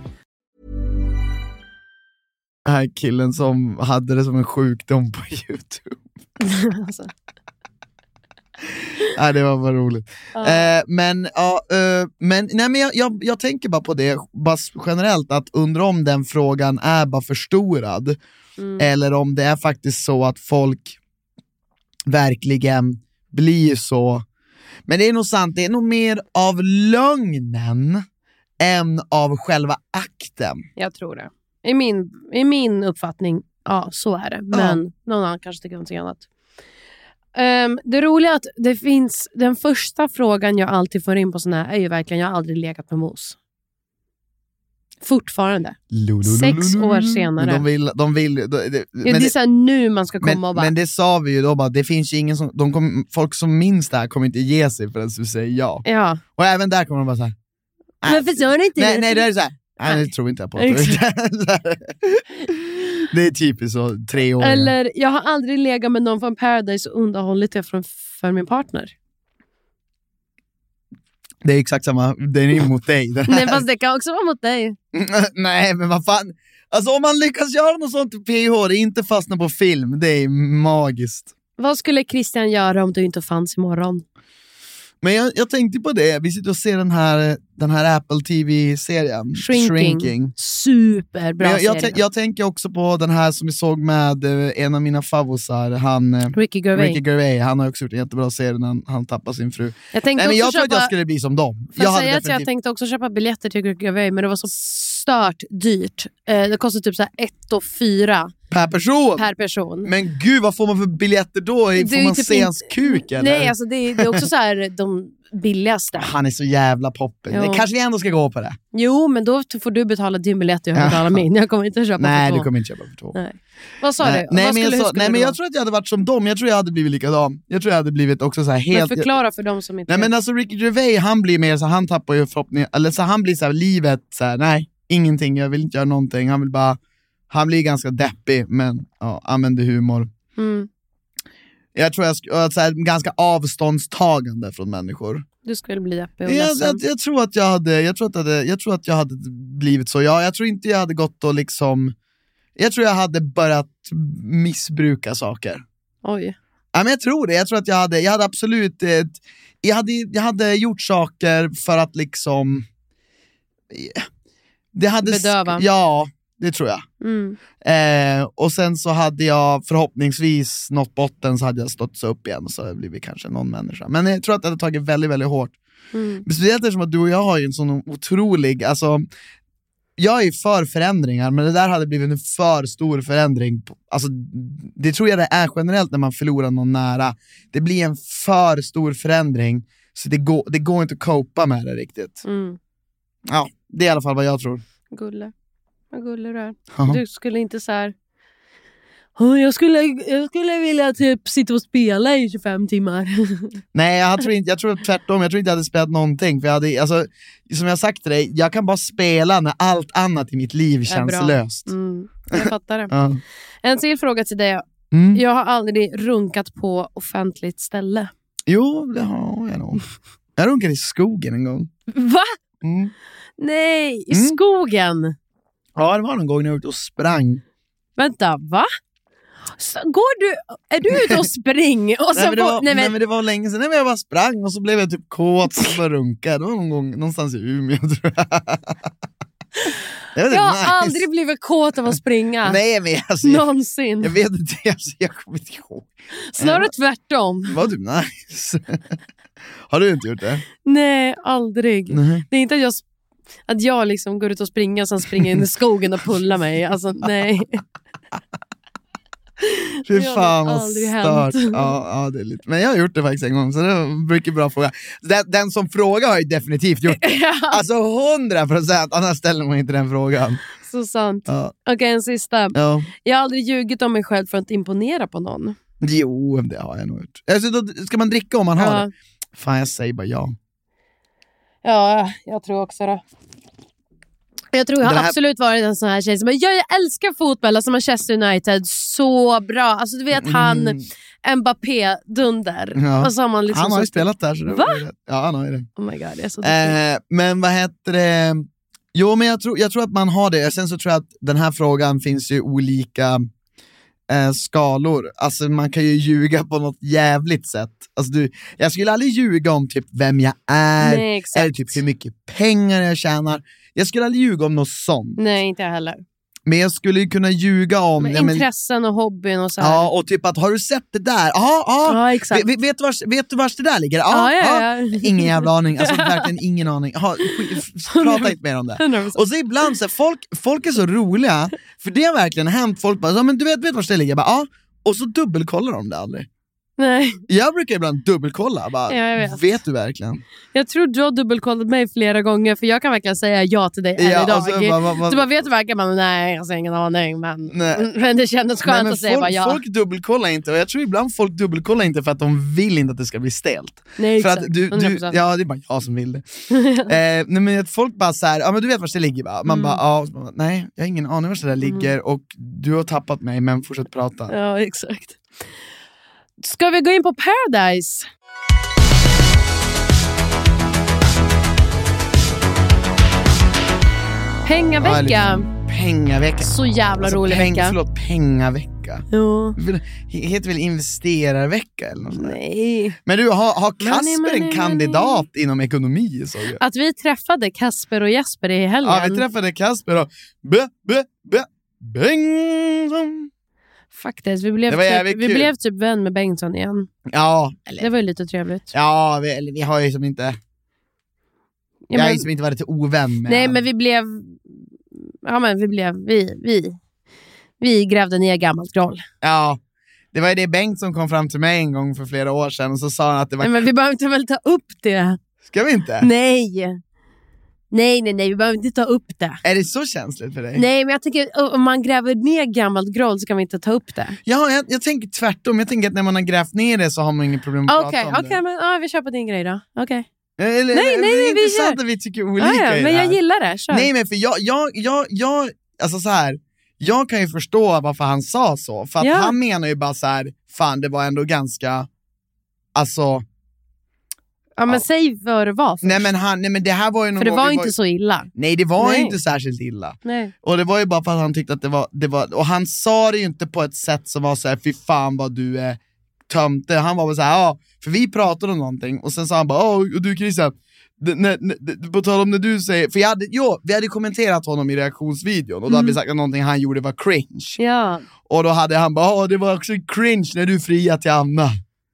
[SPEAKER 4] den här killen som hade det som en sjukdom på *laughs* YouTube.
[SPEAKER 3] Alltså.
[SPEAKER 4] Nej, det var bara roligt. Eh, men ja, eh, men, nej, men jag, jag, jag tänker bara på det bara s- generellt, att undra om den frågan är bara förstorad. Eller om det är faktiskt så att folk verkligen blir så. Men det är nog sant, det är nog mer av lögnen än av själva akten.
[SPEAKER 3] Jag tror det. I min, I min uppfattning, ja så är det. Men någon annan kanske tycker någonting annat. Ehm, det roliga är att det finns, den första frågan jag alltid får in på såna här är ju verkligen, jag har aldrig legat med mos. Fortfarande. Sex år senare.
[SPEAKER 4] Men de vill, de vill, de, de,
[SPEAKER 3] Ja,
[SPEAKER 4] men
[SPEAKER 3] det, är
[SPEAKER 4] det-
[SPEAKER 3] så här nu man ska komma
[SPEAKER 4] men,
[SPEAKER 3] och bara,
[SPEAKER 4] men det sa vi ju då, bara, det finns ju ingen som, de kom, folk som minns det här kommer inte ge sig förrän du säger ja.
[SPEAKER 3] ja.
[SPEAKER 4] Och även där kommer de bara såhär,
[SPEAKER 3] Men förstår ni inte?
[SPEAKER 4] Äh, nej, nej det är såhär, nej,
[SPEAKER 3] Nej.
[SPEAKER 4] det tror inte jag på.
[SPEAKER 3] Exakt.
[SPEAKER 4] *laughs* det är typiskt så, tre år.
[SPEAKER 3] Eller, jag har aldrig legat med någon från Paradise och underhållit det från, för min partner.
[SPEAKER 4] Det är exakt samma,
[SPEAKER 3] *laughs*
[SPEAKER 4] den är emot dig. Den
[SPEAKER 3] Nej,
[SPEAKER 4] här.
[SPEAKER 3] fast det kan också vara mot dig.
[SPEAKER 4] *laughs* nej men vad fan, alltså om man lyckas göra något sånt i PH, det är inte fastna på film, det är magiskt.
[SPEAKER 3] Vad skulle Christian göra om du inte fanns imorgon?
[SPEAKER 4] Men jag, jag tänkte på det, vi sitter och ser den här, den här Apple TV-serien,
[SPEAKER 3] Shrinking. Superbra
[SPEAKER 4] Men jag, jag,
[SPEAKER 3] serie.
[SPEAKER 4] tän- jag tänker också på den här som vi såg med eh, en av mina favosar, han, eh,
[SPEAKER 3] Ricky Gervais.
[SPEAKER 4] Ricky Gervais. Han har också gjort en jättebra serie när han, han tappar sin fru.
[SPEAKER 3] Jag tänkte
[SPEAKER 4] Nej, men
[SPEAKER 3] också
[SPEAKER 4] jag tror att
[SPEAKER 3] köpa,
[SPEAKER 4] jag skulle bli som dem.
[SPEAKER 3] får jag
[SPEAKER 4] hade
[SPEAKER 3] säga att jag
[SPEAKER 4] definitivt-
[SPEAKER 3] tänkte också köpa biljetter till Ricky Gervais, men det var så stört dyrt. Eh, det kostade typ så här 1 och 4
[SPEAKER 4] Per person!
[SPEAKER 3] per person.
[SPEAKER 4] Men gud, vad får man för biljetter då?
[SPEAKER 3] Det är
[SPEAKER 4] Får
[SPEAKER 3] ju
[SPEAKER 4] man
[SPEAKER 3] typ
[SPEAKER 4] se
[SPEAKER 3] inte-
[SPEAKER 4] hans kuk eller?
[SPEAKER 3] Nej, alltså det, är- det är också så här de
[SPEAKER 4] *laughs*
[SPEAKER 3] billigaste.
[SPEAKER 4] Han är så jävla poppen.
[SPEAKER 3] Jo.
[SPEAKER 4] Det Kanske vi ändå ska gå på det?
[SPEAKER 3] Jo, men då t- får du betala din biljett och jag
[SPEAKER 4] Ja.
[SPEAKER 3] får betala min. Jag kommer inte köpa
[SPEAKER 4] Nej,
[SPEAKER 3] för
[SPEAKER 4] du
[SPEAKER 3] två.
[SPEAKER 4] kommer inte köpa för två.
[SPEAKER 3] Nej. Vad sa
[SPEAKER 4] Nej,
[SPEAKER 3] du?
[SPEAKER 4] nej,
[SPEAKER 3] Vad skulle,
[SPEAKER 4] men, jag,
[SPEAKER 3] hur
[SPEAKER 4] sa,
[SPEAKER 3] skulle
[SPEAKER 4] nej
[SPEAKER 3] det
[SPEAKER 4] men
[SPEAKER 3] vara?
[SPEAKER 4] jag tror att jag hade varit som dem, jag tror jag hade blivit likadan. Jag tror jag hade blivit också så här
[SPEAKER 3] Men
[SPEAKER 4] helt...
[SPEAKER 3] förklara för dem som inte
[SPEAKER 4] Nej men
[SPEAKER 3] vet.
[SPEAKER 4] alltså Ricky Gervais, han blir mer så han tappar ju förhoppningar, eller så han blir så här, livet så här, nej, ingenting, jag vill inte göra någonting, han vill bara, han blir ganska deppig, men ja, använder humor.
[SPEAKER 3] Mm,
[SPEAKER 4] Jag tror jag, sk- jag är så här, ganska avståndstagande från människor.
[SPEAKER 3] du skulle bli deppig och
[SPEAKER 4] Jag, jag,
[SPEAKER 3] ledsen.
[SPEAKER 4] jag tror att jag hade, jag tror att jag hade, jag tror att jag hade blivit så, jag, jag tror inte jag hade gått och liksom, jag tror jag hade börjat missbruka saker.
[SPEAKER 3] Oj.
[SPEAKER 4] Ja, men jag tror det. Jag tror att jag hade, jag hade absolut... eh, ett- Jag hade, jag hade gjort saker för att liksom... eh, Det hade sk-
[SPEAKER 3] Bedöva.
[SPEAKER 4] Ja, det tror jag.
[SPEAKER 3] Mm.
[SPEAKER 4] Eh, och sen så hade jag förhoppningsvis nått botten så hade jag stått upp igen och så hade jag blivit kanske någon människa. Men jag tror att det hade tagit väldigt, väldigt hårt.
[SPEAKER 3] Mm.
[SPEAKER 4] Speciellt eftersom att du och jag har ju en sån otrolig, alltså jag är för förändringar, men det där hade blivit en för stor förändring. Alltså, det tror jag det är generellt när man förlorar någon nära. Det blir en för stor förändring, så det går, det går inte att copa med det riktigt.
[SPEAKER 3] Mm.
[SPEAKER 4] Ja, det är i alla fall vad jag tror.
[SPEAKER 3] Gulle. Vad gullig du är.
[SPEAKER 4] Ja.
[SPEAKER 3] Du skulle inte så här... "Åh, Jag skulle, jag skulle vilja typ sitta och spela i 25 timmar. *laughs*
[SPEAKER 4] Nej, jag tror, inte, jag tror tvärtom. Jag tror inte jag hade spelat någonting. För jag hade, alltså, som jag sagt till dig, jag kan bara spela när allt annat i mitt liv känns
[SPEAKER 3] bra.
[SPEAKER 4] löst.
[SPEAKER 3] Mm, jag fattar
[SPEAKER 4] *laughs*
[SPEAKER 3] det.
[SPEAKER 4] Ja.
[SPEAKER 3] En till fråga till dig.
[SPEAKER 4] Mm.
[SPEAKER 3] Jag har aldrig runkat på offentligt ställe.
[SPEAKER 4] Jo, det har jag nog. Jag runkade i skogen en gång.
[SPEAKER 3] Va?
[SPEAKER 4] Mm.
[SPEAKER 3] Nej, i
[SPEAKER 4] Mm.
[SPEAKER 3] skogen?
[SPEAKER 4] Ja, det var någon gång när jag var ute och sprang.
[SPEAKER 3] Vänta, va? Så går du, är du ute och
[SPEAKER 4] *laughs*
[SPEAKER 3] spring? Och
[SPEAKER 4] Nej
[SPEAKER 3] sen
[SPEAKER 4] men,
[SPEAKER 3] Alltså, på-
[SPEAKER 4] det var,
[SPEAKER 3] nej, men,
[SPEAKER 4] nej men det var länge sedan, nej men jag bara sprang och så blev jag typ kåt och började runka. Det var någon gång någonstans i Umeå *laughs* tror jag. Det var typ
[SPEAKER 3] jag har
[SPEAKER 4] nice.
[SPEAKER 3] aldrig blivit kåt av att springa.
[SPEAKER 4] Nej men alltså, jag, jag
[SPEAKER 3] Någonsin.
[SPEAKER 4] vet inte, alltså, jag kommer inte ihåg.
[SPEAKER 3] Snarare tvärtom.
[SPEAKER 4] Det var typ nice. *laughs* Har du inte gjort det?
[SPEAKER 3] Nej, aldrig.
[SPEAKER 4] Nej.
[SPEAKER 3] Det är inte att jag, sp- att jag liksom går ut och springer och sen springer in i skogen och pullar mig.
[SPEAKER 4] *laughs*
[SPEAKER 3] Alltså, nej.
[SPEAKER 4] Fy
[SPEAKER 3] Det har
[SPEAKER 4] fan vad
[SPEAKER 3] aldrig
[SPEAKER 4] stört.
[SPEAKER 3] hänt.
[SPEAKER 4] Ja, ja, det är lite. Men jag har gjort det faktiskt en gång, så det var en mycket bra fråga. Den, den som frågar har ju definitivt
[SPEAKER 3] *laughs*
[SPEAKER 4] gjort det. Alltså hundra procent, annars ställer man inte den frågan.
[SPEAKER 3] Så sant.
[SPEAKER 4] Ja,
[SPEAKER 3] Okej, en sista.
[SPEAKER 4] ja.
[SPEAKER 3] Jag har aldrig ljugit om mig själv för att imponera på någon.
[SPEAKER 4] Jo, det har jag nog gjort. Alltså, då ska man dricka om man har
[SPEAKER 3] Ja.
[SPEAKER 4] det? Fan, jag säger bara ja.
[SPEAKER 3] Ja, jag tror också det. Jag tror jag har
[SPEAKER 4] Den här-
[SPEAKER 3] absolut varit en sån här tjej som bara, "Ja, jag älskar fotboll, alltså Manchester United, så bra. Alltså du vet han, Mbappé-dunder.
[SPEAKER 4] Ja.
[SPEAKER 3] Och så har man liksom
[SPEAKER 4] Mm. han har ju
[SPEAKER 3] suttit-
[SPEAKER 4] spelat där. Så det
[SPEAKER 3] Va?
[SPEAKER 4] var ju rätt. Ja, han har ju det.
[SPEAKER 3] Oh my god, jag är så duktig.
[SPEAKER 4] Eh, men vad heter det? Jo, men jag tror, jag tror att man har det. Sen så tror jag att den här frågan finns ju olika eh, skalor. Alltså man kan ju ljuga på något jävligt sätt. Alltså, du, jag skulle aldrig ljuga om typ vem jag är,
[SPEAKER 3] Nej, exakt.
[SPEAKER 4] eller typ hur mycket pengar jag tjänar. Jag skulle aldrig ljuga om något sånt.
[SPEAKER 3] Nej, inte jag heller.
[SPEAKER 4] Men jag skulle ju kunna ljuga om...
[SPEAKER 3] Mm. Men
[SPEAKER 4] ja, men-
[SPEAKER 3] intressen och hobbyn och så här.
[SPEAKER 4] Ja, och typ att har du sett det där? Ja, ja.
[SPEAKER 3] Ja, exakt.
[SPEAKER 4] Vet, vet, du vars, vet du vars det där ligger?
[SPEAKER 3] Ja, ja, ja.
[SPEAKER 4] Ingen jävla
[SPEAKER 3] *laughs*
[SPEAKER 4] aning, alltså verkligen ingen aning. Ja, sk- f- prata inte mer om det.
[SPEAKER 3] 100%.
[SPEAKER 4] Och så ibland, så här, folk, folk är så roliga, för det har verkligen hänt. Folk bara, ja, men du vet, vet vars det ligger? Jag bara, ja. Och så dubbelkollar de det aldrig.
[SPEAKER 3] Nej,
[SPEAKER 4] Jag brukar ibland dubbelkolla, bara,
[SPEAKER 3] Ja, jag vet.
[SPEAKER 4] du verkligen?
[SPEAKER 3] jag tror du har dubbelkollat mig flera gånger för jag kan verkligen säga ja till dig än
[SPEAKER 4] Ja, alltså,
[SPEAKER 3] idag.
[SPEAKER 4] och så bara, vad- vad-
[SPEAKER 3] du bara, vet du verkligen? Man, Nej, alltså ingen aning. Men,
[SPEAKER 4] Nej.
[SPEAKER 3] *laughs* men det kändes skönt
[SPEAKER 4] Nej, men
[SPEAKER 3] att säga
[SPEAKER 4] folk,
[SPEAKER 3] bara ja.
[SPEAKER 4] folk dubbelkollar inte, och jag tror ibland folk dubbelkollar inte för att de vill inte att det ska bli stelt.
[SPEAKER 3] Nej,
[SPEAKER 4] För
[SPEAKER 3] exakt.
[SPEAKER 4] att du, du,
[SPEAKER 3] 100%.
[SPEAKER 4] ja, det är bara jag som vill det. *laughs* eh, nej, men att folk bara så här, ja men du vet var det ligger va?
[SPEAKER 3] Mm.
[SPEAKER 4] Man bara, ja, och så bara, nej jag har ingen aning var det där ligger och du har tappat mig men fortsätt prata.
[SPEAKER 3] Ja, exakt. Ska vi gå in på Paradise? Pengavecka.
[SPEAKER 4] Ja, Pengavecka.
[SPEAKER 3] Så jävla
[SPEAKER 4] Alltså,
[SPEAKER 3] rolig
[SPEAKER 4] peng,
[SPEAKER 3] vecka.
[SPEAKER 4] Förlåt, pengavecka.
[SPEAKER 3] Ja.
[SPEAKER 4] Väl- he- Heter väl investerarvecka eller något sånt där?
[SPEAKER 3] Nej.
[SPEAKER 4] Men du, har, har
[SPEAKER 3] Money,
[SPEAKER 4] Kasper en
[SPEAKER 3] money,
[SPEAKER 4] kandidat inom ekonomi såg jag?
[SPEAKER 3] Att vi träffade Kasper och Jesper i helgen.
[SPEAKER 4] Ja, vi träffade Kasper och bö, bö, bö, Bengtsson.
[SPEAKER 3] Faktiskt, vi blev,
[SPEAKER 4] Det var
[SPEAKER 3] typ,
[SPEAKER 4] jävligt
[SPEAKER 3] vi
[SPEAKER 4] kul.
[SPEAKER 3] blev typ vän med Bengtsson igen.
[SPEAKER 4] Ja,
[SPEAKER 3] Det var ju lite trevligt.
[SPEAKER 4] ja vi, eller, vi har ju som inte,
[SPEAKER 3] Ja,
[SPEAKER 4] jag har
[SPEAKER 3] men-
[SPEAKER 4] ju som inte varit till ovän med
[SPEAKER 3] Nej,
[SPEAKER 4] han.
[SPEAKER 3] men vi blev... Ja, men vi blev... Vi, vi, vi grävde ner gammalt groll.
[SPEAKER 4] Ja, det var ju det Bengt som kom fram till mig en gång för flera år sedan och så sa han att det var...
[SPEAKER 3] Nej, men vi behöver inte väl ta upp
[SPEAKER 4] Äh.
[SPEAKER 3] det.
[SPEAKER 4] Ska vi inte?
[SPEAKER 3] Nej. Nej, nej, nej, vi behöver inte ta upp det.
[SPEAKER 4] Är det så känsligt för dig?
[SPEAKER 3] Nej, men jag tänker o- om man gräver ner gammalt groll så kan vi inte ta upp det.
[SPEAKER 4] Ja, jag, jag tänker tvärtom. Jag tänker att när man har grävt ner det så har man inget problem att
[SPEAKER 3] Okej,
[SPEAKER 4] prata om
[SPEAKER 3] okej, men ja, vi kör på din grej då. Okej.
[SPEAKER 4] det. Eller, eller-
[SPEAKER 3] Nej, nej,
[SPEAKER 4] det
[SPEAKER 3] nej, vi
[SPEAKER 4] är intressant
[SPEAKER 3] kör.
[SPEAKER 4] att vi tycker
[SPEAKER 3] Ja,
[SPEAKER 4] olika
[SPEAKER 3] ja, men
[SPEAKER 4] i det
[SPEAKER 3] jag
[SPEAKER 4] här.
[SPEAKER 3] gillar det. Kör.
[SPEAKER 4] Nej, men för jag, jag, jag, jag, alltså så här, jag kan ju förstå varför han sa så. För att
[SPEAKER 3] Ja.
[SPEAKER 4] han menar ju bara så här, fan det var ändå ganska, alltså,
[SPEAKER 3] ja, men
[SPEAKER 4] ja.
[SPEAKER 3] säg vad det var först.
[SPEAKER 4] nej men, han, nej men det här var ju någon
[SPEAKER 3] För det
[SPEAKER 4] gång-
[SPEAKER 3] var
[SPEAKER 4] vi
[SPEAKER 3] ju inte så illa.
[SPEAKER 4] Nej, det var ju
[SPEAKER 3] Nej.
[SPEAKER 4] inte särskilt illa.
[SPEAKER 3] Nej.
[SPEAKER 4] Och det var ju bara för att han tyckte att det var, det var och han sa det ju inte på ett sätt som var så här, fy fan vad du är tömte. Han var bara så här, ja, för vi pratade om någonting och sen sa han bara, "Ja, och du Christian, det- när- när- det- På tal om när du säger, för jag hade, jo, vi hade kommenterat honom i reaktionsvideon och då
[SPEAKER 3] Mm.
[SPEAKER 4] hade vi sagt att någonting han gjorde var cringe.
[SPEAKER 3] Ja.
[SPEAKER 4] Och då hade han bara, "Åh, det var också cringe när du friade till Anna.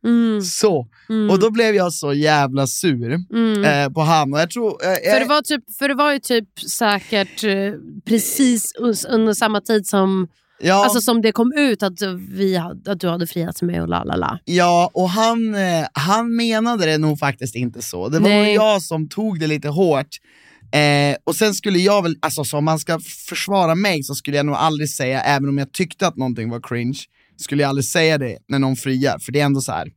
[SPEAKER 3] Mm,
[SPEAKER 4] Så.
[SPEAKER 3] mm,
[SPEAKER 4] Och då blev jag så jävla sur
[SPEAKER 3] mm.
[SPEAKER 4] eh, på han. Och jag tror, eh,
[SPEAKER 3] För
[SPEAKER 4] jag-
[SPEAKER 3] det, var typ, för det var ju typ säkert eh, precis us- under samma tid som,
[SPEAKER 4] ja,
[SPEAKER 3] alltså som det kom ut att, vi, hade- att du hade friat mig och la la la.
[SPEAKER 4] ja, och han, eh, han menade det nog faktiskt inte så. Det var
[SPEAKER 3] Nej.
[SPEAKER 4] nog jag som tog det lite hårt. Eh, och sen skulle jag väl, alltså så om man ska försvara mig så skulle jag nog aldrig säga, även om jag tyckte att någonting var cringe, skulle jag aldrig säga det när någon friar. För det är ändå så här.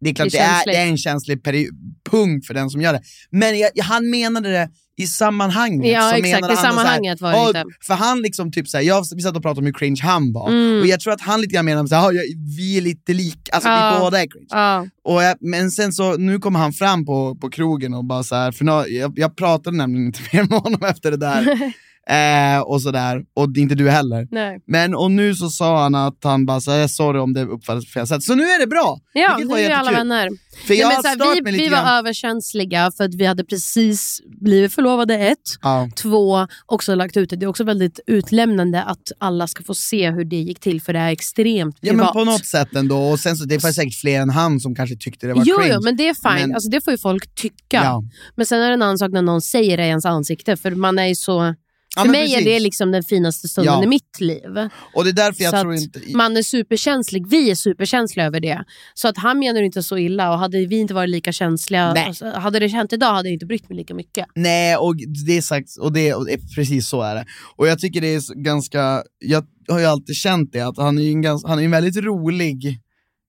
[SPEAKER 4] Det är klart
[SPEAKER 3] Det
[SPEAKER 4] det
[SPEAKER 3] är
[SPEAKER 4] är,
[SPEAKER 3] känsligt.
[SPEAKER 4] det är en känslig peri- punkt för den som gör det. Men jag, han menade det i sammanhanget.
[SPEAKER 3] Ja,
[SPEAKER 4] så
[SPEAKER 3] exakt. I
[SPEAKER 4] menade han det så här,
[SPEAKER 3] sammanhanget var det
[SPEAKER 4] Ja,
[SPEAKER 3] inte.
[SPEAKER 4] För han liksom typ såhär, jag, vi satt och pratade om hur cringe han var.
[SPEAKER 3] Mm.
[SPEAKER 4] Och jag tror att han lite grann menade såhär, "Ja, jag, vi är lite lika, alltså
[SPEAKER 3] Ja.
[SPEAKER 4] vi båda är cringe.
[SPEAKER 3] Ja.
[SPEAKER 4] Och jag, men sen så, nu kom han fram på, på krogen och bara såhär, för nå- jag, jag pratade nämligen inte *laughs* mer med honom efter
[SPEAKER 3] *laughs*
[SPEAKER 4] det där. eh, och sådär, och inte du heller.
[SPEAKER 3] Nej.
[SPEAKER 4] Men och nu så sa han att han bara såhär, sorry om det uppfattades på fel sätt. Så nu är det bra!
[SPEAKER 3] Ja,
[SPEAKER 4] Vilket
[SPEAKER 3] nu
[SPEAKER 4] var
[SPEAKER 3] är vi alla
[SPEAKER 4] jättekul.
[SPEAKER 3] vänner.
[SPEAKER 4] För
[SPEAKER 3] Nej,
[SPEAKER 4] jag
[SPEAKER 3] men
[SPEAKER 4] har
[SPEAKER 3] så
[SPEAKER 4] stört
[SPEAKER 3] här,
[SPEAKER 4] mig
[SPEAKER 3] vi, vi
[SPEAKER 4] lite
[SPEAKER 3] var
[SPEAKER 4] grann.
[SPEAKER 3] överkänsliga för att vi hade precis blivit förlovade, ett.
[SPEAKER 4] Ja.
[SPEAKER 3] Två, också lagt ut det. Det är också väldigt utlämnande att alla ska få se hur det gick till, för det är extremt
[SPEAKER 4] Ja
[SPEAKER 3] privat.
[SPEAKER 4] men på något sätt ändå, och sen så det var säkert fler än han som kanske tyckte det var
[SPEAKER 3] Jo,
[SPEAKER 4] cringe.
[SPEAKER 3] jo, men det är fine.
[SPEAKER 4] Men-
[SPEAKER 3] Alltså, det får ju folk tycka.
[SPEAKER 4] Ja.
[SPEAKER 3] Men sen är det en annan sak när någon säger det i ens ansikte. För man är ju så... För
[SPEAKER 4] men
[SPEAKER 3] mig är
[SPEAKER 4] precis.
[SPEAKER 3] det liksom den finaste stunden
[SPEAKER 4] Ja.
[SPEAKER 3] i mitt liv.
[SPEAKER 4] Och det är därför jag
[SPEAKER 3] så
[SPEAKER 4] tror
[SPEAKER 3] att
[SPEAKER 4] inte...
[SPEAKER 3] man är superkänslig. Vi är superkänsliga över det. Så att han menar ju inte så illa och hade vi inte varit lika känsliga,
[SPEAKER 4] Nej.
[SPEAKER 3] alltså, hade det hänt idag hade jag inte brytt mig lika mycket.
[SPEAKER 4] Nej, och det är sagt, och det, och det är eh, precis så är det. Och jag tycker det är så- ganska, jag har ju alltid känt det, att han är ju en, gans, han är en väldigt rolig,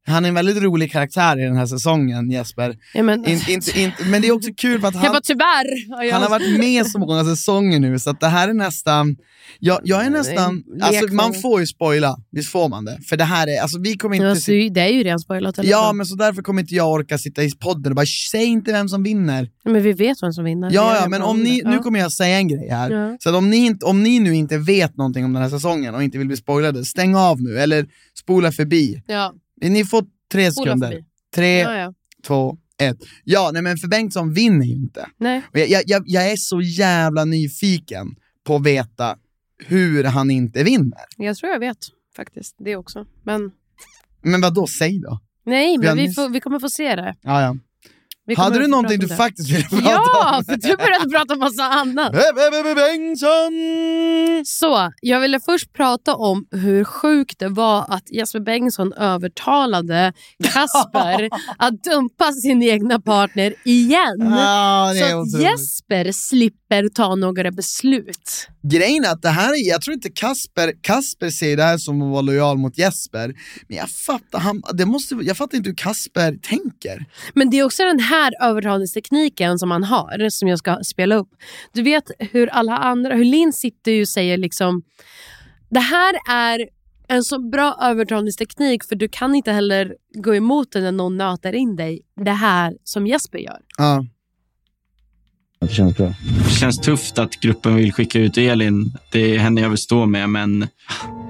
[SPEAKER 4] han är en väldigt rolig karaktär i den här säsongen Jesper.
[SPEAKER 3] Ja, men,
[SPEAKER 4] In, inte- inte- men det är också kul för
[SPEAKER 3] *laughs*
[SPEAKER 4] att
[SPEAKER 3] jag
[SPEAKER 4] han,
[SPEAKER 3] bara tyvärr. har jag-
[SPEAKER 4] han har varit med så många säsonger nu, så att det här är nästan, jag, jag är nästan,
[SPEAKER 3] Det är en
[SPEAKER 4] alltså
[SPEAKER 3] lek-
[SPEAKER 4] man får ju spoila, visst får man det? För det här är, alltså vi kommer
[SPEAKER 3] Ja,
[SPEAKER 4] inte
[SPEAKER 3] så
[SPEAKER 4] sitta,
[SPEAKER 3] ju- det är ju redan spoilat. Eller
[SPEAKER 4] ja
[SPEAKER 3] så.
[SPEAKER 4] men så därför kommer inte jag orka sitta i podden och bara säg inte vem som vinner.
[SPEAKER 3] men... vi vet vem som vinner. Vi
[SPEAKER 4] Ja,
[SPEAKER 3] är
[SPEAKER 4] ja, men
[SPEAKER 3] redan
[SPEAKER 4] om ni,
[SPEAKER 3] under.
[SPEAKER 4] nu
[SPEAKER 3] Ja.
[SPEAKER 4] kommer jag säga en grej här.
[SPEAKER 3] Ja.
[SPEAKER 4] Så att om, ni inte, om ni nu inte vet någonting om den här säsongen och inte vill bli spoilade, stäng av nu eller spola förbi.
[SPEAKER 3] Ja,
[SPEAKER 4] Ni får tre
[SPEAKER 3] spola
[SPEAKER 4] sekunder.
[SPEAKER 3] förbi.
[SPEAKER 4] Tre,
[SPEAKER 3] Ja, ja.
[SPEAKER 4] två, ett. Ja, nej men för Bengtsson vinner ju inte.
[SPEAKER 3] Nej.
[SPEAKER 4] Och jag, jag, jag, jag är så jävla nyfiken på att veta hur han inte vinner.
[SPEAKER 3] Jag tror jag vet faktiskt det också. Men
[SPEAKER 4] Men vad då säg då.
[SPEAKER 3] nej,
[SPEAKER 4] Vi har
[SPEAKER 3] men vi,
[SPEAKER 4] nyss-
[SPEAKER 3] får, vi kommer få se det.
[SPEAKER 4] Ja, ja.
[SPEAKER 3] Vi kommer
[SPEAKER 4] Hade
[SPEAKER 3] få
[SPEAKER 4] du
[SPEAKER 3] prata
[SPEAKER 4] någonting
[SPEAKER 3] om
[SPEAKER 4] du
[SPEAKER 3] det.
[SPEAKER 4] faktiskt ville *laughs* prata
[SPEAKER 3] Ja,
[SPEAKER 4] om?
[SPEAKER 3] för du började prata om massa
[SPEAKER 4] *laughs*
[SPEAKER 3] annat.
[SPEAKER 4] Bengtsson!
[SPEAKER 3] Så, jag ville först prata om hur sjukt det var att Jesper Bengtsson övertalade
[SPEAKER 4] *laughs*
[SPEAKER 3] Kasper att dumpa sin egna partner igen.
[SPEAKER 4] Ja, det är
[SPEAKER 3] så att
[SPEAKER 4] otroligt.
[SPEAKER 3] Jesper slipper ta några beslut.
[SPEAKER 4] Grejen är att det här är, jag tror inte Kasper, Kasper ser det här som att vara lojal mot Jesper, men jag fattar, han, det måste, jag fattar inte hur Kasper tänker.
[SPEAKER 3] Men det är också den här övertalningstekniken som han har, som jag ska spela upp. Du vet hur alla andra, hur Linn sitter ju och säger liksom, det här är en så bra övertalningsteknik för du kan inte heller gå emot det när någon nötar in dig. Det här som Jesper gör.
[SPEAKER 4] Ja.
[SPEAKER 6] Det känns tufft att gruppen vill skicka ut Elin. Det är henne jag vill stå med, men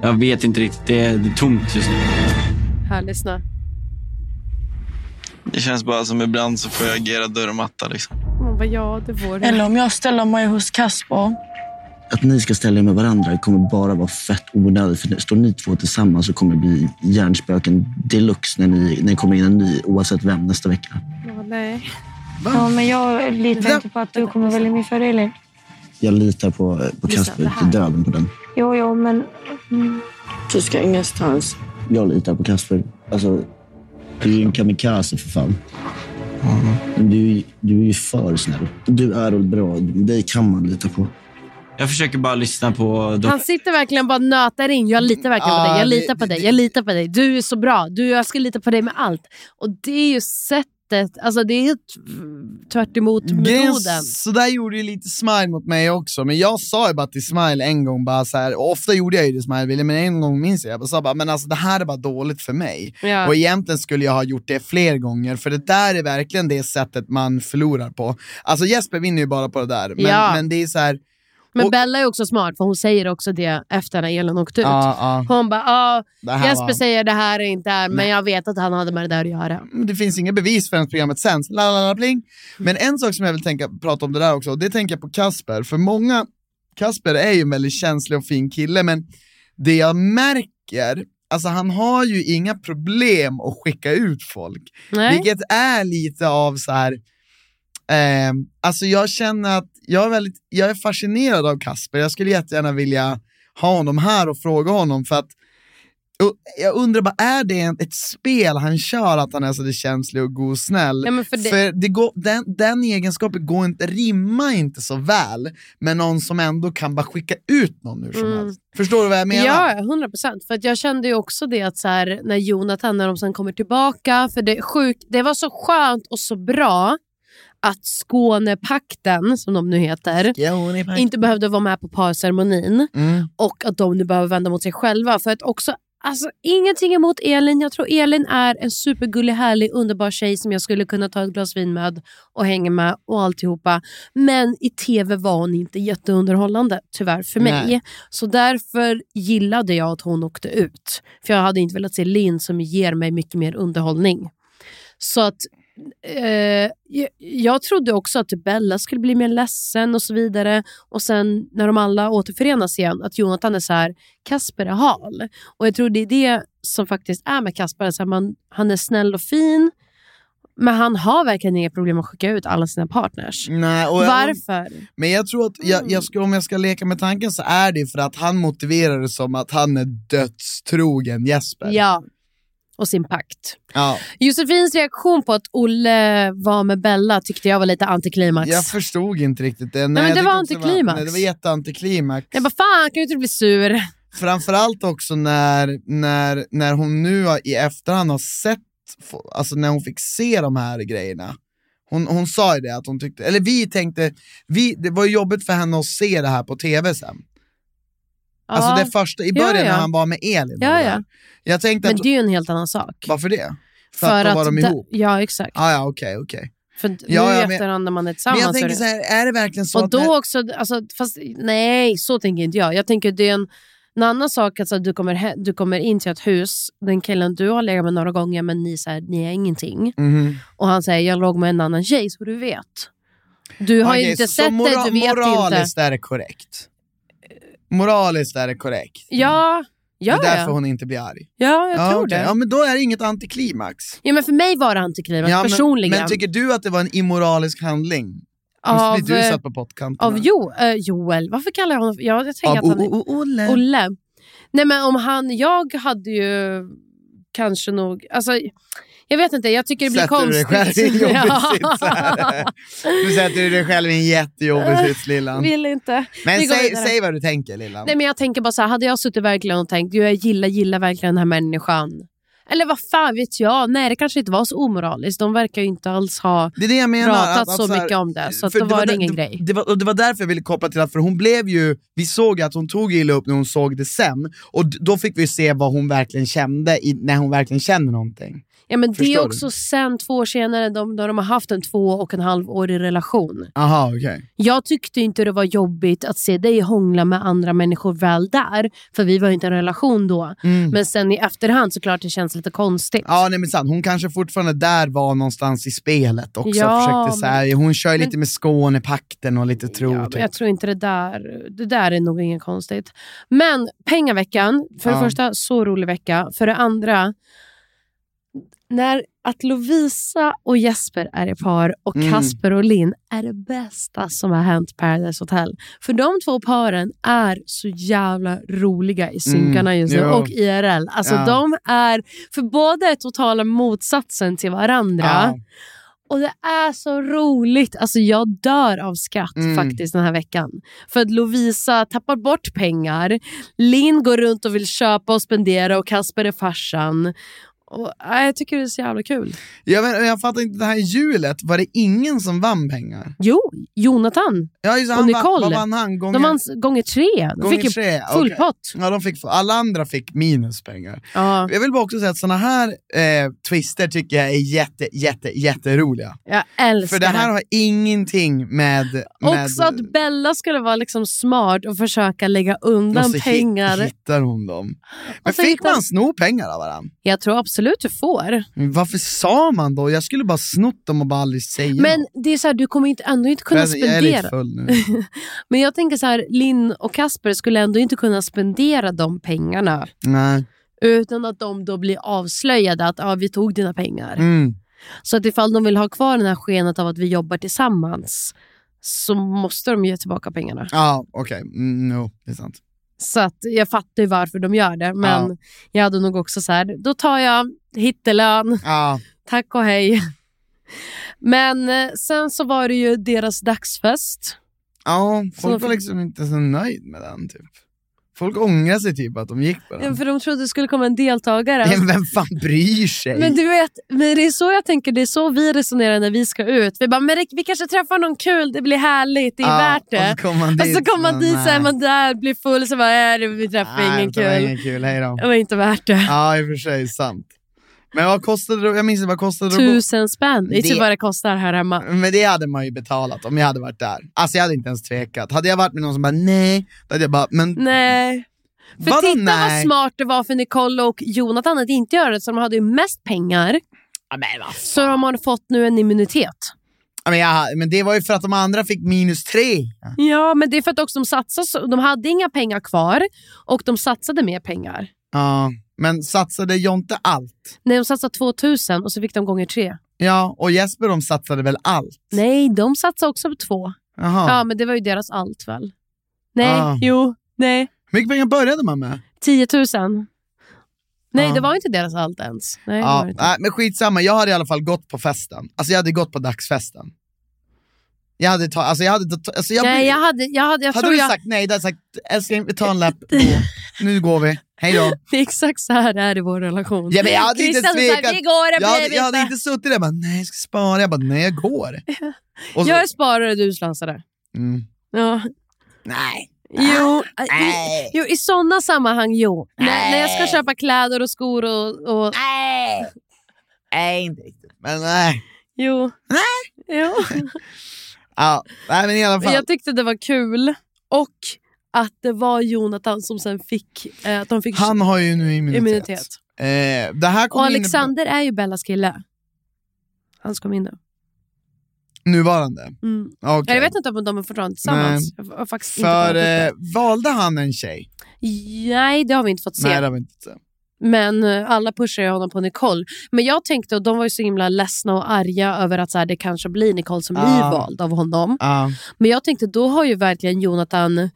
[SPEAKER 6] jag vet inte riktigt. Det är, det är tomt just nu.
[SPEAKER 3] Här, lyssna.
[SPEAKER 6] Det känns bara som ibland så får jag agera dörrmatta. Liksom.
[SPEAKER 3] Man bara, ja, det får du.
[SPEAKER 7] Eller om jag ställer mig hos Kasper.
[SPEAKER 6] Att ni ska ställa er med varandra kommer bara vara fett onödigt. För står ni två tillsammans så kommer det bli hjärnspöken deluxe när ni, när ni kommer in en ny, oavsett vem, nästa vecka.
[SPEAKER 3] Ja, nej.
[SPEAKER 7] Ja, men jag litar inte på att du kommer välja mig före Elin.
[SPEAKER 6] Jag litar på, på
[SPEAKER 3] Lyssna, det
[SPEAKER 6] Kasper
[SPEAKER 3] här.
[SPEAKER 6] till döden på den.
[SPEAKER 7] Jo, jo, men... Du ska ingenstans.
[SPEAKER 6] Jag litar på Kasper. Alltså, du är ju en kamikaze för fan. Men Du, är ju- du är ju för snäll. Du är bra. Dig kan man lita på. Jag försöker bara lyssna på...
[SPEAKER 3] Han sitter verkligen och bara nötar in. Jag litar verkligen på
[SPEAKER 4] Ja,
[SPEAKER 3] dig. Jag
[SPEAKER 4] det-
[SPEAKER 3] litar på
[SPEAKER 4] det-
[SPEAKER 3] dig. Jag litar på dig. Du är så bra. Du, jag ska lita på dig med allt. Och det är ju sättet. Alltså det är ju t- tvärt emot
[SPEAKER 4] Grejen,
[SPEAKER 3] metoden.
[SPEAKER 4] så där gjorde ju lite Smile mot mig också, men jag sa ju bara till Smile en gång, bara så här, och ofta gjorde jag ju det Smile ville, men en gång minns jag, jag bara sa bara, men alltså det här är bara dåligt för mig.
[SPEAKER 3] Ja.
[SPEAKER 4] Och egentligen skulle jag ha gjort det fler gånger, för det där är verkligen det sättet man förlorar på. Alltså Jesper vinner ju bara på det där, men,
[SPEAKER 3] Ja. *laughs*
[SPEAKER 4] men det är så här,
[SPEAKER 3] Men
[SPEAKER 4] Och-
[SPEAKER 3] Bella är också smart, för hon säger också det efter när Elin åkte ut.
[SPEAKER 4] Ja, ja.
[SPEAKER 3] Hon bara, ah,
[SPEAKER 4] Det här
[SPEAKER 3] Jesper
[SPEAKER 4] var-
[SPEAKER 3] säger det här är inte här, men jag vet att han hade med det där att göra.
[SPEAKER 4] Men det finns inga bevis förrän programmet sänds. La, la, la, bling. Men en sak som jag vill tänka, prata om det där också, och det tänker jag på Kasper. För många, Kasper är ju en väldigt känslig och fin kille, men det jag märker, alltså han har ju inga problem att skicka ut folk.
[SPEAKER 3] Nej.
[SPEAKER 4] Vilket är lite av så här, ehm, alltså jag känner att jag är, väldigt, jag är fascinerad av Kasper. Jag skulle jättegärna vilja ha honom här och fråga honom för att och jag undrar bara, är det en, ett spel han kör att han är så där känslig och god och snäll?
[SPEAKER 3] Ja, men för det-
[SPEAKER 4] går, den, den egenskapen går inte, rimmar inte så väl med någon som ändå kan bara skicka ut någon hur som
[SPEAKER 3] Mm.
[SPEAKER 4] helst. Förstår du vad jag menar?
[SPEAKER 3] Ja, 100 procent. För att jag kände ju också det att så här, när Jonathan, när de sen kommer tillbaka, för det, är sjukt, det var så skönt och så bra att Skånepakten, som de nu heter,
[SPEAKER 4] Ja, hon är
[SPEAKER 3] inte behövde vara med på parceremonin
[SPEAKER 4] Mm.
[SPEAKER 3] och att de nu behöver vända mot sig själva. För att också, alltså, ingenting emot Elin. Jag tror Elin är en supergullig, härlig, underbar tjej som jag skulle kunna ta ett glas vin med och hänga med och alltihopa. Men i tv var hon inte jätteunderhållande, tyvärr för mig.
[SPEAKER 4] Nej.
[SPEAKER 3] Så därför gillade jag att hon åkte ut. För jag hade inte velat se Linn som ger mig mycket mer underhållning. Så att eh, jag, jag trodde också att Bella skulle bli mer ledsen och så vidare. Och sen när de alla återförenas igen, att Jonathan är så här, Kasper är hal. Och jag tror det är det som faktiskt är med Kasper. Så här, man, han är snäll och fin, men han har verkligen inga problem att skicka ut alla sina partners.
[SPEAKER 4] Nej, Mm. och jag-
[SPEAKER 3] Varför?
[SPEAKER 4] Men jag tror att, jag,
[SPEAKER 3] Mm.
[SPEAKER 4] jag ska, om jag ska leka med tanken så är det för att han motiverar det som att han är dödstrogen Jesper.
[SPEAKER 3] Ja. Och sin pakt.
[SPEAKER 4] Ja.
[SPEAKER 3] Josefins reaktion på att Olle var med Bella tyckte jag var lite antiklimax.
[SPEAKER 4] Jag förstod inte riktigt det. Nej,
[SPEAKER 3] men
[SPEAKER 4] jag
[SPEAKER 3] det
[SPEAKER 4] tyckte
[SPEAKER 3] var
[SPEAKER 4] också
[SPEAKER 3] antiklimax.
[SPEAKER 4] nej, det var jätteantiklimax.
[SPEAKER 3] Jag bara, fan kan du inte bli sur?
[SPEAKER 4] Framförallt också när, när, när hon nu har, i efterhand har sett, få- alltså när hon fick se de här grejerna. Hon, hon sa ju det att hon tyckte, eller vi tänkte, vi, det var ju jobbigt för henne att se det här på tv sen. Alltså det första, i
[SPEAKER 3] Ja,
[SPEAKER 4] början
[SPEAKER 3] ja.
[SPEAKER 4] när han var med Elin. och
[SPEAKER 3] Ja,
[SPEAKER 4] det
[SPEAKER 3] ja.
[SPEAKER 4] där. Jag tänkte
[SPEAKER 3] Men
[SPEAKER 4] att,
[SPEAKER 3] det är ju en helt annan sak.
[SPEAKER 4] varför det? För, att, då var de
[SPEAKER 3] da-
[SPEAKER 4] ihop?
[SPEAKER 3] Ja, exakt.
[SPEAKER 4] Ah, ja, okej, okej.
[SPEAKER 3] För d-
[SPEAKER 4] Ja,
[SPEAKER 3] nu
[SPEAKER 4] ja,
[SPEAKER 3] i
[SPEAKER 4] men-
[SPEAKER 3] efterhand när man är
[SPEAKER 4] Men
[SPEAKER 3] tillsammans.
[SPEAKER 4] jag
[SPEAKER 3] så är
[SPEAKER 4] tänker
[SPEAKER 3] det-
[SPEAKER 4] så här, är det verkligen så
[SPEAKER 3] och
[SPEAKER 4] att
[SPEAKER 3] då
[SPEAKER 4] när-
[SPEAKER 3] också, alltså, fast, nej så tänker inte jag. Jag tänker det är en, en annan sak att så här, du, kommer he- du kommer in till ett hus, den killen du har legat med några gånger men ni, så här, ni är ingenting.
[SPEAKER 4] Mhm.
[SPEAKER 3] Och han säger jag låg med en annan tjej så du vet. Du har
[SPEAKER 4] Okej,
[SPEAKER 3] inte
[SPEAKER 4] så- så
[SPEAKER 3] sett
[SPEAKER 4] mora-
[SPEAKER 3] det, du vet inte.
[SPEAKER 4] Moraliskt är det korrekt. Moraliskt är det korrekt.
[SPEAKER 3] Ja, ja,
[SPEAKER 4] det är därför
[SPEAKER 3] ja.
[SPEAKER 4] hon inte blir arg.
[SPEAKER 3] ja jag
[SPEAKER 4] ja,
[SPEAKER 3] tror
[SPEAKER 4] okej.
[SPEAKER 3] det.
[SPEAKER 4] Ja, men då är det inget antiklimax.
[SPEAKER 3] Ja, men för mig var det antiklimax
[SPEAKER 4] Ja, men,
[SPEAKER 3] personligen.
[SPEAKER 4] men tycker du att det var en immoralisk handling?
[SPEAKER 3] Av,
[SPEAKER 4] Visst blir du
[SPEAKER 3] eh,
[SPEAKER 4] satt på pottkanten?
[SPEAKER 3] Av jo, eh, Joel. Varför kallar jag honom för- ja, jag tänker
[SPEAKER 4] Av
[SPEAKER 3] att han är,
[SPEAKER 4] O- O- O- Olle.
[SPEAKER 3] Olle. Nej men om han, jag hade ju kanske nog, alltså jag vet inte, jag tycker det blir
[SPEAKER 4] Sätter du dig
[SPEAKER 3] konstigt.
[SPEAKER 4] själv
[SPEAKER 3] *laughs*
[SPEAKER 4] i en
[SPEAKER 3] Ja.
[SPEAKER 4] jobbig sits här? Nu sätter du dig själv i en jättejobbig sits lillan.
[SPEAKER 3] Vill inte.
[SPEAKER 4] Men
[SPEAKER 3] Vi går
[SPEAKER 4] säg,
[SPEAKER 3] vidare.
[SPEAKER 4] säg vad du tänker lillan.
[SPEAKER 3] Nej men jag tänker bara så här, hade jag suttit verkligen och tänkt, "Jo, jag gillar, gillar verkligen den här människan. Eller vad fan vet jag? Nej det kanske inte var så omoraliskt, de verkar ju inte alls ha
[SPEAKER 4] Det är det jag menar.
[SPEAKER 3] pratat så
[SPEAKER 4] här-
[SPEAKER 3] mycket om det, så att
[SPEAKER 4] för
[SPEAKER 3] då var det
[SPEAKER 4] där-
[SPEAKER 3] ingen grej.
[SPEAKER 4] Det var, och det var därför jag ville koppla till att för hon blev ju, vi såg ju att hon tog illa upp när hon såg det sen, och d- då fick vi se vad hon verkligen kände, i, när hon verkligen känner någonting.
[SPEAKER 3] Ja, men det
[SPEAKER 4] Förstår
[SPEAKER 3] är
[SPEAKER 4] du?
[SPEAKER 3] också sen två år senare, de, när de har haft en två och en halv årig relation.
[SPEAKER 4] Aha, okej.
[SPEAKER 3] Jag tyckte inte det var jobbigt att se dig hångla med andra människor väl där, för vi var ju inte i en relation då. Men sen i efterhand såklart det känns lite konstigt.
[SPEAKER 4] Mm. Ja, nej men sant. Hon kanske fortfarande där var någonstans i spelet också.
[SPEAKER 3] Ja,
[SPEAKER 4] försökte så här, hon kör ju lite
[SPEAKER 3] men-
[SPEAKER 4] med Skånepakten och lite tro.
[SPEAKER 3] Ja, men
[SPEAKER 4] typ.
[SPEAKER 3] jag tror inte det där, det där är nog inget konstigt. Men pengaveckan, för det
[SPEAKER 4] Ja.
[SPEAKER 3] första så rolig vecka. För det andra, när att Lovisa och Jesper är i par och
[SPEAKER 4] Mm.
[SPEAKER 3] Kasper och Linn är det bästa som har hänt Paradise Hotel. För de två paren är så jävla roliga i synkarna just nu
[SPEAKER 4] jo.
[SPEAKER 3] och IRL. Alltså
[SPEAKER 4] Mm. Ja.
[SPEAKER 3] de är, för båda är totala motsatsen till varandra.
[SPEAKER 4] Ja.
[SPEAKER 3] Och det är så roligt. Alltså jag dör av skratt
[SPEAKER 4] Mm.
[SPEAKER 3] faktiskt den här veckan. För att Lovisa tappar bort pengar, Linn går runt och vill köpa och spendera och Kasper är farsan. Och, nej, jag tycker det är så jävla kul.
[SPEAKER 4] Jag, vet, jag fattar inte, det här hjulet, var det ingen som vann pengar?
[SPEAKER 3] Jo, Jonathan
[SPEAKER 4] Ja, just, det,
[SPEAKER 3] och
[SPEAKER 4] han vann,
[SPEAKER 3] Nicole.
[SPEAKER 4] vad vann han? Gånger,
[SPEAKER 3] de vann s- gånger tre. De
[SPEAKER 4] gånger
[SPEAKER 3] fick ju
[SPEAKER 4] tre,
[SPEAKER 3] full
[SPEAKER 4] okej.
[SPEAKER 3] pott.
[SPEAKER 4] Ja, de fick, alla andra fick minuspengar.
[SPEAKER 3] Ja.
[SPEAKER 4] Jag vill bara också säga att såna här eh, twister tycker jag är jätte, jätte, jätteroliga.
[SPEAKER 3] Jag älskar
[SPEAKER 4] För det här har ingenting med... med
[SPEAKER 3] Också att Bella skulle vara liksom smart och försöka lägga undan
[SPEAKER 4] Måste hi-
[SPEAKER 3] pengar.
[SPEAKER 4] Hittar hon dem? Men
[SPEAKER 3] så
[SPEAKER 4] fick
[SPEAKER 3] hittar-
[SPEAKER 4] man sno pengar av varandra?
[SPEAKER 3] Jag tror absolut du får.
[SPEAKER 4] Varför sa man då? Jag skulle bara snott dem och bara aldrig säga
[SPEAKER 3] Men
[SPEAKER 4] något.
[SPEAKER 3] det är så här, du kommer inte, ändå inte kunna
[SPEAKER 4] jag, jag är lite
[SPEAKER 3] spendera.
[SPEAKER 4] full nu.
[SPEAKER 3] Men jag tänker så här, Linn och Kasper skulle ändå inte kunna spendera de pengarna
[SPEAKER 4] Nej.
[SPEAKER 3] utan att de då blir avslöjade att ah, vi tog dina pengar.
[SPEAKER 4] Mm.
[SPEAKER 3] Så att ifall de vill ha kvar den här skenet av att vi jobbar tillsammans så måste de ge tillbaka pengarna.
[SPEAKER 4] Ja, okej. Mm, no, det är sant.
[SPEAKER 3] Så att jag fattar ju varför de gör det. Men
[SPEAKER 4] Ja.
[SPEAKER 3] jag hade nog också så här, då tar jag hittelön, *laughs*
[SPEAKER 4] Ja,
[SPEAKER 3] tack och hej. Men eh, sen så var det ju deras dagsfest.
[SPEAKER 4] ja
[SPEAKER 3] Så
[SPEAKER 4] folk var
[SPEAKER 3] fick-
[SPEAKER 4] liksom inte så nöjd med den typ. Folk ångrar sig typ att de gick på den.
[SPEAKER 3] För de trodde det skulle komma en deltagare.
[SPEAKER 4] Men *laughs* vem fan bryr sig?
[SPEAKER 3] Men du vet, men det är så jag tänker, det är så vi resonerar när vi ska ut. Vi bara, men det, vi kanske träffar någon kul, det blir härligt, det är
[SPEAKER 4] Ja,
[SPEAKER 3] värt det.
[SPEAKER 4] Och så kommer man
[SPEAKER 3] Och
[SPEAKER 4] dit,
[SPEAKER 3] så kommer man dit, så är
[SPEAKER 4] nej.
[SPEAKER 3] man där, blir full, så bara, äh, det- vi träffar
[SPEAKER 4] Nej,
[SPEAKER 3] ingen
[SPEAKER 4] det var
[SPEAKER 3] kul.
[SPEAKER 4] ingen kul. Hej då.
[SPEAKER 3] Det var inte värt det.
[SPEAKER 4] Ja, i och för sig, sant. Men vad kostade det? Jag minns inte, vad kostade det? att gå-
[SPEAKER 3] Tusen spänn, det är typ
[SPEAKER 4] Det-
[SPEAKER 3] vad det kostar här hemma.
[SPEAKER 4] Men det hade man ju betalat om jag hade varit där. Alltså jag hade inte ens tvekat. Hade jag varit med någon som bara nej, då hade jag bara, men
[SPEAKER 3] Nej. För
[SPEAKER 4] vadå
[SPEAKER 3] titta vad
[SPEAKER 4] nej?
[SPEAKER 3] smart det var för Nicole och Jonathan att inte göra det, så de hade ju mest pengar.
[SPEAKER 4] Ja, men, vad
[SPEAKER 3] Så de har fått nu en immunitet.
[SPEAKER 4] Ja, men, jag, men det var ju för att de andra fick minus tre.
[SPEAKER 3] Ja, men det är för att också de satsade, så- de hade inga pengar kvar och de satsade mer pengar.
[SPEAKER 4] Ja, men satsade Jonte allt?
[SPEAKER 3] Nej, de satsade 2000 och så fick de gånger tre.
[SPEAKER 4] Ja, och Jesper de satsade väl allt?
[SPEAKER 3] Nej, de satsade också på två.
[SPEAKER 4] Jaha.
[SPEAKER 3] Ja, men det var ju deras allt väl? Nej,
[SPEAKER 4] Ah.
[SPEAKER 3] jo, nej.
[SPEAKER 4] Hur mycket pengar började man med?
[SPEAKER 3] 10 000. Nej,
[SPEAKER 4] Ja.
[SPEAKER 3] det var inte deras allt ens. Nej, det var
[SPEAKER 4] Ja,
[SPEAKER 3] det inte.
[SPEAKER 4] nej, men skitsamma, jag hade i alla fall gått på festen. Alltså jag hade gått på dagsfesten. Jag hade ta, alltså jag hade, ta, alltså jag,
[SPEAKER 3] nej, jag hade, jag hade, jag
[SPEAKER 4] hade
[SPEAKER 3] tror
[SPEAKER 4] du
[SPEAKER 3] jag,
[SPEAKER 4] sagt nej, då hade jag sagt älskling vi tar en lapp, gå. nu går vi, hej då.
[SPEAKER 3] *laughs* det är *laughs* exakt så här det är i vår relation.
[SPEAKER 4] Ja, men jag hade inte
[SPEAKER 3] Christian sa,
[SPEAKER 4] svikat.
[SPEAKER 3] Vi går, det
[SPEAKER 4] Jag hade,
[SPEAKER 3] blir
[SPEAKER 4] jag hade
[SPEAKER 3] inte.
[SPEAKER 4] inte suttit där och bara, nej jag ska spara, jag bara, nej
[SPEAKER 3] *laughs*
[SPEAKER 4] jag går. Och så,
[SPEAKER 3] Jag är sparare, du slansare.
[SPEAKER 4] mm.
[SPEAKER 3] Ja.
[SPEAKER 4] Nej.
[SPEAKER 3] Jo, i,
[SPEAKER 4] Nej.
[SPEAKER 3] jo, i sådana sammanhang jo. När, när jag ska köpa kläder och skor och... och
[SPEAKER 4] Nej. Nej, inte riktigt. Men nej.
[SPEAKER 3] jo. jo.
[SPEAKER 4] Ja, nej men i alla fall.
[SPEAKER 3] Jag tyckte det var kul. Och att det var Jonathan som sen fick... Eh, att de fick
[SPEAKER 4] Han har ju nu immunitet.
[SPEAKER 3] immunitet.
[SPEAKER 4] Eh, det här
[SPEAKER 3] Och
[SPEAKER 4] kommer
[SPEAKER 3] Alexander är ju Bellas kille. Han som kom in nu.
[SPEAKER 4] in nuvarande.
[SPEAKER 3] Mm.
[SPEAKER 4] Okay.
[SPEAKER 3] Jag vet inte om de är fortfarande tillsammans. Jag har faktiskt inte kollat
[SPEAKER 4] För
[SPEAKER 3] upp det.
[SPEAKER 4] eh, valde han en tjej?
[SPEAKER 3] Nej, det har vi inte fått se.
[SPEAKER 4] Nej, det har vi inte. sett.
[SPEAKER 3] Men eh, alla pushar ju honom på Nicole. Men jag tänkte, och de var ju så himla ledsna och arga över att så här, det kanske blir Nicole som blir
[SPEAKER 4] Ah.
[SPEAKER 3] vald av honom.
[SPEAKER 4] Ja.
[SPEAKER 3] Men jag tänkte, då har ju verkligen Jonathan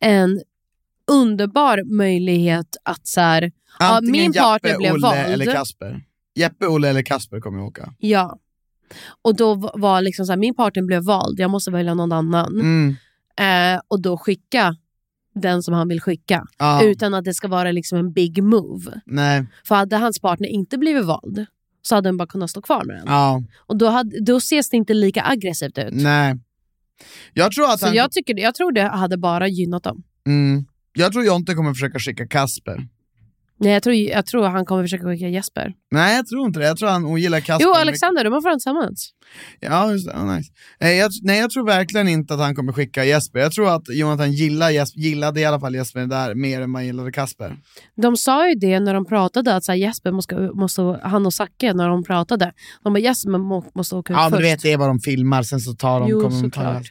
[SPEAKER 3] en underbar möjlighet att så här, min partner
[SPEAKER 4] Jeppe,
[SPEAKER 3] blev
[SPEAKER 4] Olle
[SPEAKER 3] vald.
[SPEAKER 4] eller Kasper. Jeppe, Olle eller Kasper kommer jag åka.
[SPEAKER 3] ja. Och då v- var liksom så här, min partner blev vald, jag måste välja någon annan.
[SPEAKER 4] Mm.
[SPEAKER 3] Eh, och då skicka den som han vill skicka.
[SPEAKER 4] Ja,
[SPEAKER 3] Utan att det ska vara liksom en big move.
[SPEAKER 4] Nej.
[SPEAKER 3] För hade hans partner inte blivit vald så hade den bara kunnat stå kvar med den.
[SPEAKER 4] Ja.
[SPEAKER 3] Och då, hade, då ses det inte lika aggressivt ut.
[SPEAKER 4] Nej. Jag tror att
[SPEAKER 3] Typ. Så
[SPEAKER 4] han...
[SPEAKER 3] jag, tycker, jag tror det hade bara gynnat dem.
[SPEAKER 4] Mm. Jag tror Jonte kommer försöka skicka Kasper.
[SPEAKER 3] Nej, jag, tror, jag tror han kommer försöka skicka Jesper.
[SPEAKER 4] Nej, jag tror inte det. Jag tror han ogillar Kasper.
[SPEAKER 3] Jo,
[SPEAKER 4] mycket.
[SPEAKER 3] Alexander, de har varit tillsammans.
[SPEAKER 4] Ja, just det. Ja, nice. nej, jag, nej, jag tror verkligen inte att han kommer skicka Jesper. Jag tror att Jonathan gillar Jesper, gillade i alla fall Jesper där mer än man gillade Kasper.
[SPEAKER 3] De sa ju det när de pratade, att så här, Jesper måste, måste, han och Zacke, när de pratade, de bara Jesper må, måste åka ut
[SPEAKER 4] Ja, men
[SPEAKER 3] först.
[SPEAKER 4] du vet, det är vad de filmar, sen så tar de...
[SPEAKER 3] jo,
[SPEAKER 4] kommer de ta
[SPEAKER 3] såklart.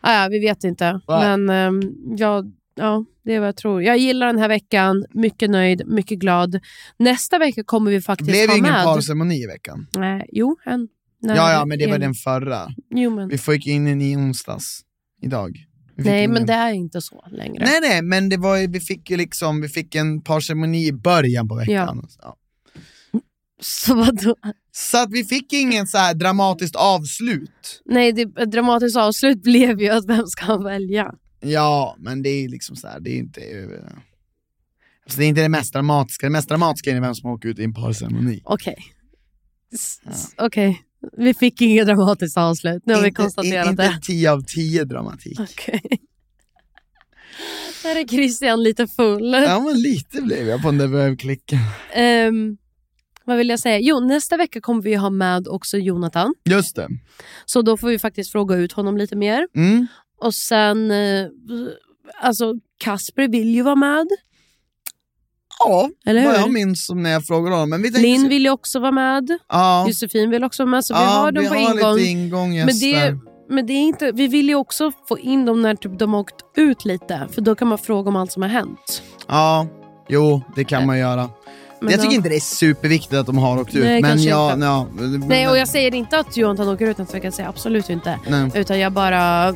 [SPEAKER 3] Ah, ja, vi vet inte,
[SPEAKER 4] Nej.
[SPEAKER 3] men ehm, jag, ja, det är vad jag tror. Jag gillar den här veckan, mycket nöjd, mycket glad. Nästa vecka kommer vi
[SPEAKER 4] Det
[SPEAKER 3] faktiskt
[SPEAKER 4] blev ju
[SPEAKER 3] ha
[SPEAKER 4] ingen
[SPEAKER 3] med...
[SPEAKER 4] parceremoni i veckan.
[SPEAKER 3] Nej, jo, en. Nej,
[SPEAKER 4] ja, ja, men det var
[SPEAKER 3] en.
[SPEAKER 4] den förra.
[SPEAKER 3] Jo, men...
[SPEAKER 4] Vi fick in den i onsdags, idag. Vi fick
[SPEAKER 3] Nej,
[SPEAKER 4] in
[SPEAKER 3] men
[SPEAKER 4] den.
[SPEAKER 3] det är inte så längre.
[SPEAKER 4] Nej, nej, men det var ju, vi fick ju liksom, vi fick en parceremoni i början på veckan. Ja.
[SPEAKER 3] *laughs* Så vadå?
[SPEAKER 4] Så att vi fick ingen så här dramatiskt avslut.
[SPEAKER 3] Nej, det, ett dramatiskt avslut *laughs* blev ju att vem ska han välja?
[SPEAKER 4] Ja, men det är liksom så här, det är inte... Så eh, det är inte det mest dramatiska. Det mest dramatiska är vem som åker ut i en parceremoni.
[SPEAKER 3] Okej. S- s- Okej. Vi fick inget dramatiskt avslut. Nu har vi
[SPEAKER 4] Inte-
[SPEAKER 3] konstaterat
[SPEAKER 4] inte,
[SPEAKER 3] det.
[SPEAKER 4] Inte 10 av 10 dramatik.
[SPEAKER 3] Okej. Där är Christian lite full.
[SPEAKER 4] Ja men lite blev jag på den där bögklicken.
[SPEAKER 3] Ehm, vad vill jag säga? Jo, nästa vecka kommer vi ha med också Jonathan.
[SPEAKER 4] Just det.
[SPEAKER 3] Så då får vi faktiskt fråga ut honom lite mer.
[SPEAKER 4] Mm.
[SPEAKER 3] Och sen, eh, alltså Kasper vill ju vara med.
[SPEAKER 4] Ja,
[SPEAKER 3] Eller
[SPEAKER 4] vad
[SPEAKER 3] hur?
[SPEAKER 4] jag minns som när jag frågade honom. Men vi tänkte...
[SPEAKER 3] Linn vill ju också vara med.
[SPEAKER 4] ja.
[SPEAKER 3] Josefin vill också vara med. Så vi
[SPEAKER 4] Ja,
[SPEAKER 3] har dem
[SPEAKER 4] vi
[SPEAKER 3] på
[SPEAKER 4] har
[SPEAKER 3] ingång.
[SPEAKER 4] lite ingånggäster.
[SPEAKER 3] men det, men det är inte, vi vill ju också få in dem när typ, de har åkt ut lite. För då kan man fråga om allt som har hänt.
[SPEAKER 4] Ja, jo det kan man göra.
[SPEAKER 3] Men
[SPEAKER 4] jag tycker
[SPEAKER 3] ja.
[SPEAKER 4] inte det är superviktigt att de har åkt ut.
[SPEAKER 3] Nej,
[SPEAKER 4] men
[SPEAKER 3] kanske
[SPEAKER 4] jag,
[SPEAKER 3] inte.
[SPEAKER 4] ja,
[SPEAKER 3] Nej, och jag säger inte att Jonathan åker ut nästa vecka. Jag säger absolut inte.
[SPEAKER 4] Nej.
[SPEAKER 3] Utan jag bara...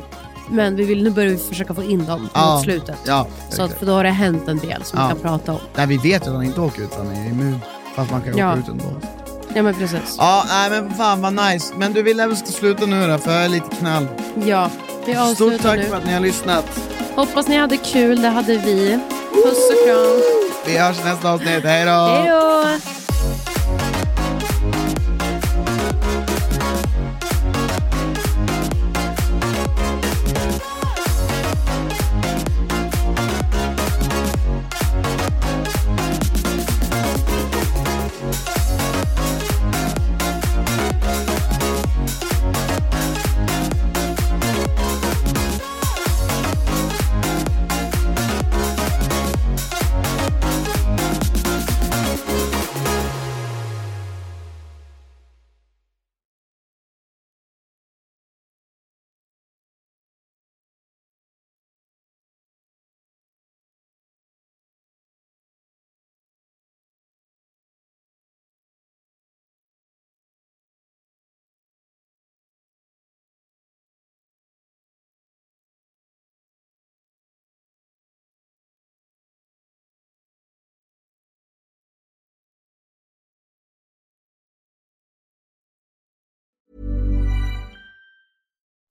[SPEAKER 3] Men vi vill, nu börjar vi försöka få in dem
[SPEAKER 4] Ja,
[SPEAKER 3] mot slutet.
[SPEAKER 4] Ja,
[SPEAKER 3] Så att, för då har det hänt en del som
[SPEAKER 4] Ja.
[SPEAKER 3] vi kan prata om.
[SPEAKER 4] Nej, vi vet ju att han inte åker ut, han är immun. Fast man kan
[SPEAKER 3] Ja.
[SPEAKER 4] åka ut ändå.
[SPEAKER 3] Ja, men precis.
[SPEAKER 4] Ja, nej men fan vad nice. Men du, vi lär väl ska sluta nu då, för jag är lite knall.
[SPEAKER 3] Ja, vi avslutar
[SPEAKER 4] Stort tack
[SPEAKER 3] nu.
[SPEAKER 4] för att ni har lyssnat.
[SPEAKER 3] Hoppas ni hade kul. Det hade vi. Puss och kram.
[SPEAKER 4] Vi hörs i nästa avsnitt. Hej då!
[SPEAKER 3] Hej då!